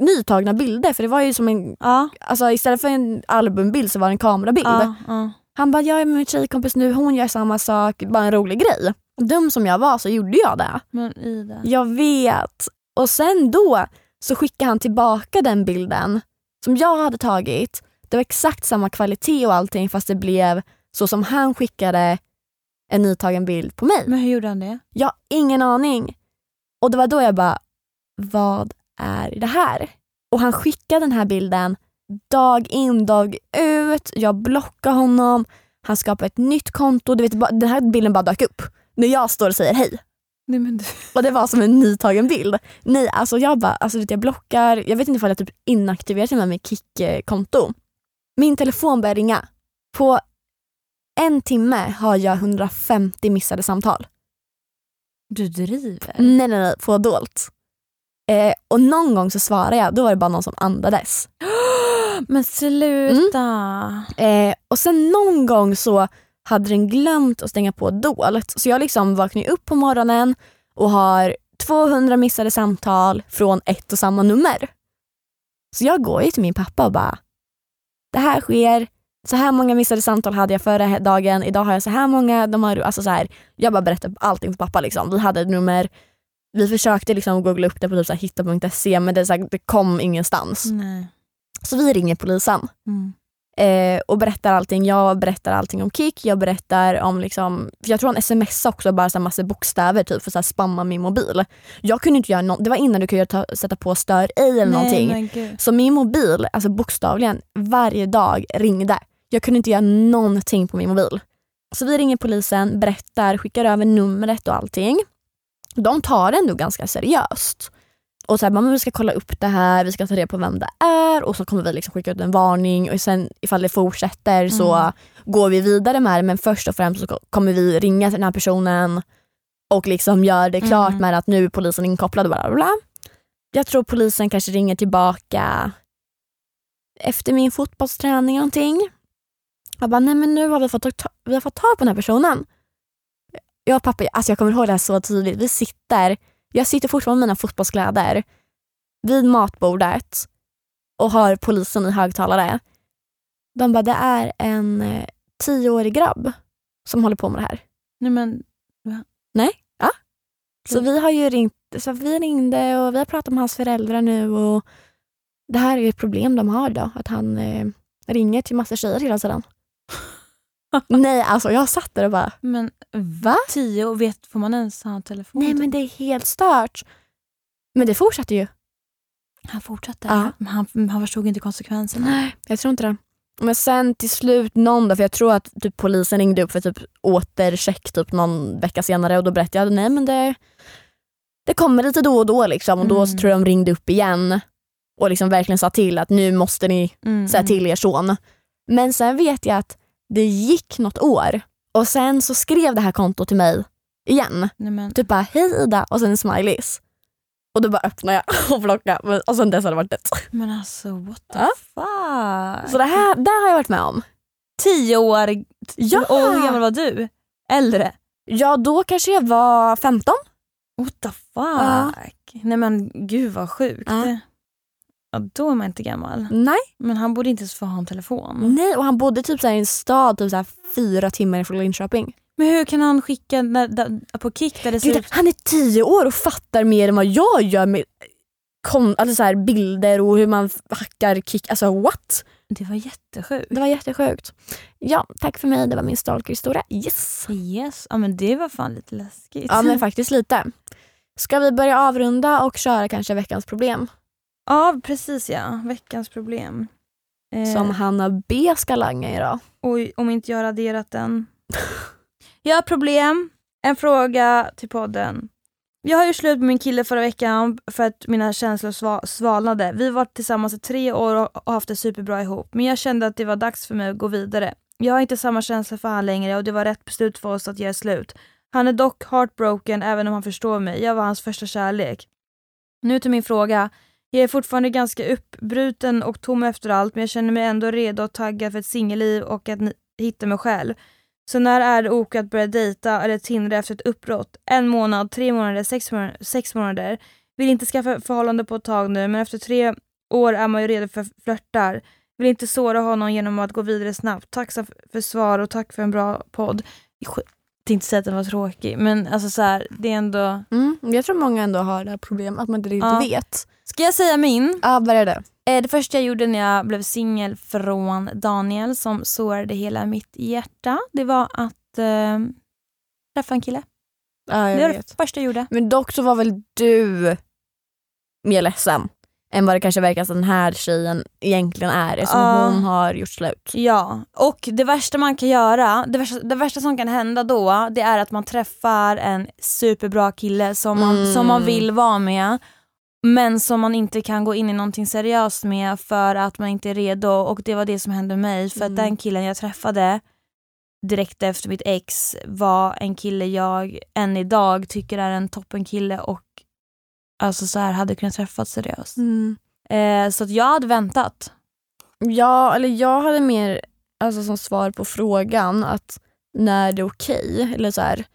[SPEAKER 1] nytagna bilder för det var ju som en,
[SPEAKER 2] Ja.
[SPEAKER 1] alltså istället för en albumbild så var det en kamerabild.
[SPEAKER 2] Ja. Ja.
[SPEAKER 1] Han bara, jag är med min tjejkompis nu, hon gör samma sak, bara en rolig grej. Dum som jag var så gjorde jag det.
[SPEAKER 2] Men Ida.
[SPEAKER 1] Jag vet. Och sen då så skickade han tillbaka den bilden som jag hade tagit. Det var exakt samma kvalitet och allting fast det blev så som han skickade en nytagen bild på mig.
[SPEAKER 2] Men hur gjorde han det?
[SPEAKER 1] Jag har ingen aning. Och det var då jag bara, vad är det här? Och han skickade den här bilden dag in dag ut. Jag blockade honom. Han skapade ett nytt konto. Du vet, bara- den här bilden bara dök upp. När jag står och säger hej.
[SPEAKER 2] Nej, men du.
[SPEAKER 1] Och det var som en nytagen bild. Nej, alltså jag bara, alltså du vet, jag blockar. Jag vet inte ifall jag typ inaktiverar till och med mitt Kik-konto. Min telefon börjar ringa. På en timme har jag 150 missade samtal.
[SPEAKER 2] Du driver.
[SPEAKER 1] Nej, nej, nej, på dolt. Eh, och någon gång så svarar jag, då var det bara någon som andades.
[SPEAKER 2] Men sluta.
[SPEAKER 1] Eh, och sen någon gång så hade den glömt att stänga på dolt. Så jag liksom vaknar ju upp på morgonen och har 200 missade samtal från ett och samma nummer. Så jag går ju till min pappa och bara, det här sker, så här många missade samtal hade jag förra dagen, idag har jag så här många. De har, alltså så här, jag bara berättar allting för pappa. Liksom. Vi hade ett nummer, vi försökte liksom googla upp det på typ så här hitta.se men det, är så här, det kom ingenstans.
[SPEAKER 2] Nej.
[SPEAKER 1] Så vi ringer polisen
[SPEAKER 2] Mm.
[SPEAKER 1] eh, och berättar allting. Jag berättar allting om Kik, jag berättar om liksom, för jag tror han smsade också bara så här massa bokstäver typ för att så här spamma min mobil. Jag kunde inte göra något, det var innan du kunde ta, sätta på stör ej eller någonting.
[SPEAKER 2] Nej, men gud.
[SPEAKER 1] Så min mobil, alltså bokstavligen varje dag ringde. Jag kunde inte göra någonting på min mobil. Så vi ringer polisen, berättar, skickar över numret och allting. De tar det ändå ganska seriöst. Och så här, bara, men vi ska kolla upp det här, vi ska ta reda på vem det är och så kommer vi liksom skicka ut en varning och sen ifall det fortsätter så
[SPEAKER 2] Mm.
[SPEAKER 1] går vi vidare med det men först och främst så ko- kommer vi ringa till den här personen och liksom gör det klart
[SPEAKER 2] Mm.
[SPEAKER 1] med att nu är polisen inkopplad och bla bla bla. Jag tror polisen kanske ringer tillbaka efter min fotbollsträning eller någonting. Jag bara, nej men nu har vi fått, ta- vi har fått tag på den här personen. Jag och pappa, alltså jag kommer ihåg det här så tydligt. Vi sitter, jag sitter fortfarande med mina fotbollskläder vid matbordet och har polisen i högtalare. De bara, det är en eh, tioårig grabb som håller på med det här.
[SPEAKER 2] Nej, men,
[SPEAKER 1] Så vi har ju ringt, så vi ringde och vi har pratat med hans föräldrar nu och det här är ju ett problem de har då, att han eh, ringer till massa tjejer hela tiden. Nej, alltså jag satt där och bara,
[SPEAKER 2] men
[SPEAKER 1] va?
[SPEAKER 2] tio och vet, får man ens ha telefon?
[SPEAKER 1] Nej men det är helt stört. Men det fortsatte ju.
[SPEAKER 2] Han fortsatte?
[SPEAKER 1] Ja.
[SPEAKER 2] Men han, men han förstod inte konsekvenserna?
[SPEAKER 1] Nej, jag tror inte det. Men sen till slut någon dag, för jag tror att typ, polisen ringde upp för typ återcheck typ någon vecka senare och då berättade jag nej men det, det kommer lite då och då liksom och då
[SPEAKER 2] Mm.
[SPEAKER 1] så tror jag de ringde upp igen och liksom verkligen sa till att nu måste ni
[SPEAKER 2] Mm.
[SPEAKER 1] säga till er son. Men sen vet jag att det gick något år och sen så skrev det här kontot till mig igen.
[SPEAKER 2] Nej, men,
[SPEAKER 1] Typ bara hej Ida och sen smileys. Och då bara öppnade jag och plockade Men- och sen dess har det varit dött.
[SPEAKER 2] men alltså what the
[SPEAKER 1] Ja.
[SPEAKER 2] fuck?
[SPEAKER 1] Så det här det har jag varit med om.
[SPEAKER 2] tio år
[SPEAKER 1] Ja.
[SPEAKER 2] och hur gammal var du? Äldre?
[SPEAKER 1] Ja, då kanske jag var 15.
[SPEAKER 2] What the fuck?
[SPEAKER 1] Ja.
[SPEAKER 2] Nej men gud vad sjukt.
[SPEAKER 1] Ja. Mm.
[SPEAKER 2] Ja, då är man inte gammal.
[SPEAKER 1] Nej.
[SPEAKER 2] Men han borde inte ens få ha en telefon.
[SPEAKER 1] Nej, och han bodde typ så här i en stad typ så här fyra timmar ifrån Linköping.
[SPEAKER 2] Men hur kan han skicka när, där, på kick där det ser
[SPEAKER 1] Gud,
[SPEAKER 2] ut...
[SPEAKER 1] han är tio år och fattar mer än vad jag gör med kon- alltså så här bilder och hur man hackar kick. Alltså what?
[SPEAKER 2] Det var jättesjukt.
[SPEAKER 1] Det var jättesjukt. Ja, tack för mig. Det var min stalkerhistoria. Yes!
[SPEAKER 2] Yes, ja men det var fan lite läskigt.
[SPEAKER 1] Ja, men faktiskt lite. Ska vi börja avrunda och köra kanske veckans problem
[SPEAKER 2] Ja, precis ja, veckans problem. Eh,
[SPEAKER 1] som Hanna B ska langa idag?
[SPEAKER 2] Oj, om inte jag har raderat den. Jag har problem. En fråga till podden. Jag har ju slut med min kille förra veckan för att mina känslor sva- svalnade. Vi har varit tillsammans i tre år och och haft det superbra ihop. Men jag kände att det var dags för mig att gå vidare. Jag har inte samma känsla för han längre och det var rätt beslut för oss att göra slut. Han är dock heartbroken även om han förstår mig. Jag var hans första kärlek. Nu till min fråga. Jag är fortfarande ganska uppbruten och tom efter allt men jag känner mig ändå redo och taggad för ett singelliv och att ni- hitta mig själv. Så när är det ok att börja dejta eller tindra efter ett uppbrott? En månad, tre månader, sex månader? Sex månader. Vill inte skaffa förhållande på ett tag nu men efter tre år är man ju redo för flörtar. Vill inte såra honom genom att gå vidare snabbt. Tacksam f- för svar och tack för en bra podd. Jag tänkte inte säga att den var tråkig, men alltså så här, det är ändå...
[SPEAKER 1] Mm. Jag tror många ändå har det här problemet att man inte riktigt
[SPEAKER 2] Ja.
[SPEAKER 1] vet.
[SPEAKER 2] Ska jag säga min?
[SPEAKER 1] Ja, vad är det?
[SPEAKER 2] Eh, Det första jag gjorde när jag blev singel från Daniel som sårade hela mitt hjärta, det var att eh, träffa en kille.
[SPEAKER 1] Ja,
[SPEAKER 2] det
[SPEAKER 1] jag
[SPEAKER 2] var
[SPEAKER 1] vet.
[SPEAKER 2] det första jag gjorde.
[SPEAKER 1] Men dock så var väl du mer ledsen än vad det kanske verkar att den här tjejen egentligen är eftersom
[SPEAKER 2] Ja.
[SPEAKER 1] hon har gjort slut.
[SPEAKER 2] Ja, och det värsta man kan göra, det värsta, det värsta som kan hända då, det är att man träffar en superbra kille som man,
[SPEAKER 1] Mm.
[SPEAKER 2] som man vill vara med men som man inte kan gå in i någonting seriöst med för att man inte är redo och det var det som hände mig för
[SPEAKER 1] Mm.
[SPEAKER 2] att den killen jag träffade direkt efter mitt ex var en kille jag än idag tycker är en toppenkille och alltså så här hade kunnat träffas seriöst. Eh, så att jag hade väntat.
[SPEAKER 1] Ja, eller jag hade mer alltså, som svar på frågan att när det är okej. eller så här,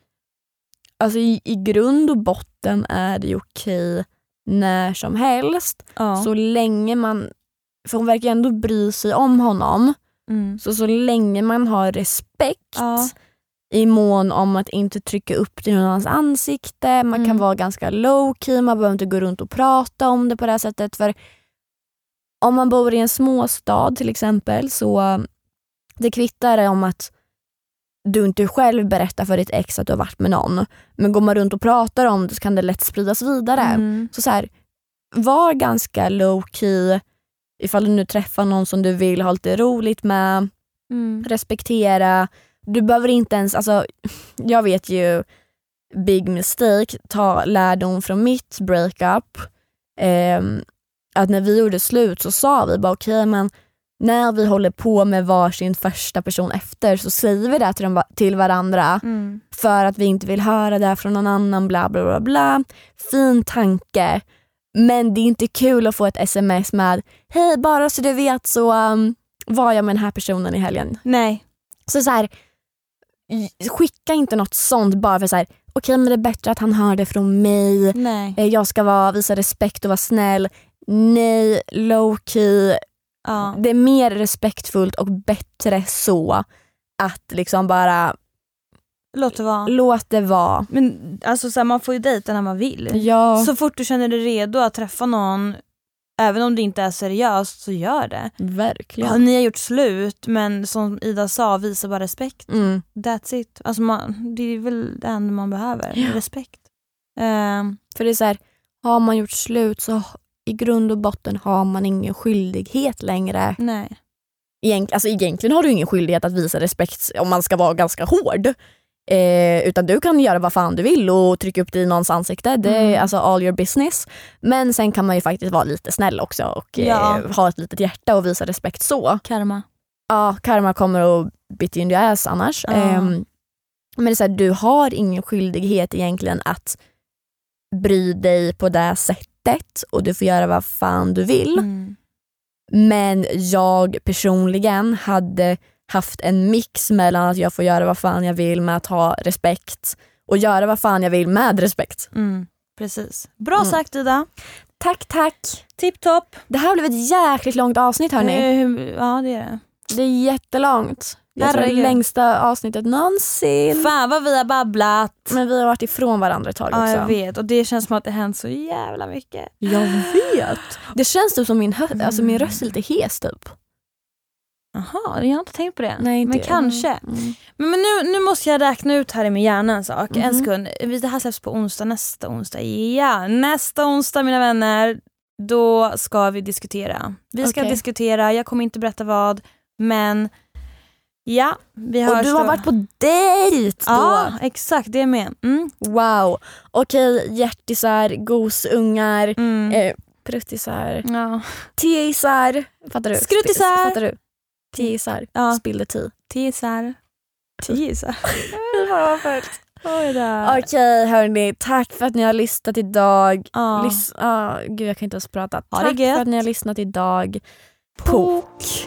[SPEAKER 1] alltså, i, I grund och botten är det ju okej när som helst.
[SPEAKER 2] Ja.
[SPEAKER 1] Så länge man, för hon verkar ändå bry sig om honom.
[SPEAKER 2] mm.
[SPEAKER 1] Så så länge man har respekt
[SPEAKER 2] Ja.
[SPEAKER 1] i mån om att inte trycka upp det i någon annans ansikte. Man
[SPEAKER 2] Mm.
[SPEAKER 1] kan vara ganska low key, man behöver inte gå runt och prata om det på det här sättet. För om man bor i en småstad till exempel så eh, det kvittar om att du inte själv berättar för ditt ex att du har varit med någon. Men går man runt och pratar om det så kan det lätt spridas vidare.
[SPEAKER 2] Mm.
[SPEAKER 1] Så, så här, var ganska low key ifall du nu träffar någon som du vill ha lite roligt med
[SPEAKER 2] Mm.
[SPEAKER 1] respektera. Du behöver inte ens, alltså, jag vet ju big mistake, ta lärdom från mitt breakup. Ehm, att när vi gjorde slut så sa vi bara okej men när vi håller på med varsin första person efter så säger vi det till, dem, till varandra
[SPEAKER 2] Mm.
[SPEAKER 1] för att vi inte vill höra det här från någon annan bla bla bla bla. Fin tanke men det är inte kul att få ett sms med hej bara så du vet så um, var jag med den här personen i helgen.
[SPEAKER 2] Nej.
[SPEAKER 1] Så, så här, j- skicka inte något sånt bara för så här, okej men det är bättre att han hör det från mig.
[SPEAKER 2] Nej.
[SPEAKER 1] Eh, Jag ska vara, visa respekt och vara snäll. Nej, low key.
[SPEAKER 2] Ja.
[SPEAKER 1] Det är mer respektfullt och bättre så att liksom bara
[SPEAKER 2] Låt det vara.
[SPEAKER 1] låt det vara.
[SPEAKER 2] Men alltså så här, man får ju dejta när man vill.
[SPEAKER 1] Ja,
[SPEAKER 2] Så fort du känner dig redo att träffa någon, även om det inte är seriöst, så gör det. Ja.
[SPEAKER 1] verkligen.
[SPEAKER 2] Ni har gjort slut men som Ida sa, visa bara respekt.
[SPEAKER 1] Mm.
[SPEAKER 2] That's it. Alltså man, det är väl det enda man behöver,
[SPEAKER 1] Ja.
[SPEAKER 2] respekt. Ehm,
[SPEAKER 1] För det är så här, har man gjort slut så i grund och botten har man ingen skyldighet längre.
[SPEAKER 2] nej.
[SPEAKER 1] Egent, alltså egentligen har du ingen skyldighet att visa respekt om man ska vara ganska hård. Eh, utan du kan göra vad fan du vill och trycka upp det i någons ansikte. Det är
[SPEAKER 2] Mm.
[SPEAKER 1] alltså all your business. Men sen kan man ju faktiskt vara lite snäll också och eh,
[SPEAKER 2] Ja.
[SPEAKER 1] ha ett litet hjärta och visa respekt så.
[SPEAKER 2] Karma.
[SPEAKER 1] Ja, karma kommer och bit you in the ass annars.
[SPEAKER 2] Ja.
[SPEAKER 1] Ehm, men det är så här, du har ingen skyldighet egentligen att bry dig på det sättet och du får göra vad fan du vill.
[SPEAKER 2] Mm.
[SPEAKER 1] Men jag personligen hade haft en mix mellan att jag får göra vad fan jag vill med att ha respekt och göra vad fan jag vill med respekt.
[SPEAKER 2] Mm. Precis. Bra
[SPEAKER 1] Mm.
[SPEAKER 2] sagt Ida.
[SPEAKER 1] Tack, tack.
[SPEAKER 2] Tipptopp.
[SPEAKER 1] Det här blev ett jäkligt långt avsnitt hörni.
[SPEAKER 2] Eh, Ja det är det.
[SPEAKER 1] Det är jättelångt. Mm. Jag tror det är det
[SPEAKER 2] Herregud.
[SPEAKER 1] längsta avsnittet någonsin.
[SPEAKER 2] Fan vad vi har babblat.
[SPEAKER 1] Men vi har varit ifrån varandra ett tag också.
[SPEAKER 2] Ja jag vet och det känns som att det hänt så jävla mycket.
[SPEAKER 1] Jag vet. Det känns typ som min, hö- alltså min röst är lite hes typ.
[SPEAKER 2] Jaha, jag har inte tänkt på det.
[SPEAKER 1] Nej, inte
[SPEAKER 2] men
[SPEAKER 1] jag.
[SPEAKER 2] kanske.
[SPEAKER 1] Mm.
[SPEAKER 2] Men, men nu, nu måste jag räkna ut här i min hjärna en sak. En
[SPEAKER 1] Mhm.
[SPEAKER 2] sekund. Vi- Det här släpps på onsdag, nästa onsdag. Ja, nästa onsdag mina vänner. Då ska vi diskutera. Vi ska
[SPEAKER 1] Okej.
[SPEAKER 2] diskutera, jag kommer inte berätta vad. Men ja, vi hörs
[SPEAKER 1] Och du har
[SPEAKER 2] då.
[SPEAKER 1] varit på dejt då.
[SPEAKER 2] Ja, exakt det med. Mm.
[SPEAKER 1] Wow. Okej, hjärtisar, gosungar,
[SPEAKER 2] Mm.
[SPEAKER 1] eh, pruttisar,
[SPEAKER 2] Ja.
[SPEAKER 1] teisar. Fattar du?
[SPEAKER 2] Skruttisar.
[SPEAKER 1] Spill- Fattar du? Teisar.
[SPEAKER 2] Ja.
[SPEAKER 1] Spill the tea.
[SPEAKER 2] Tisar. Tisar. Oj då.
[SPEAKER 1] Okej hörni, tack för att ni har lyssnat idag.
[SPEAKER 2] Ja.
[SPEAKER 1] Lys- ah, gud jag kan inte ens prata.
[SPEAKER 2] Ha det
[SPEAKER 1] tack
[SPEAKER 2] gött.
[SPEAKER 1] för att ni har lyssnat idag. Puck.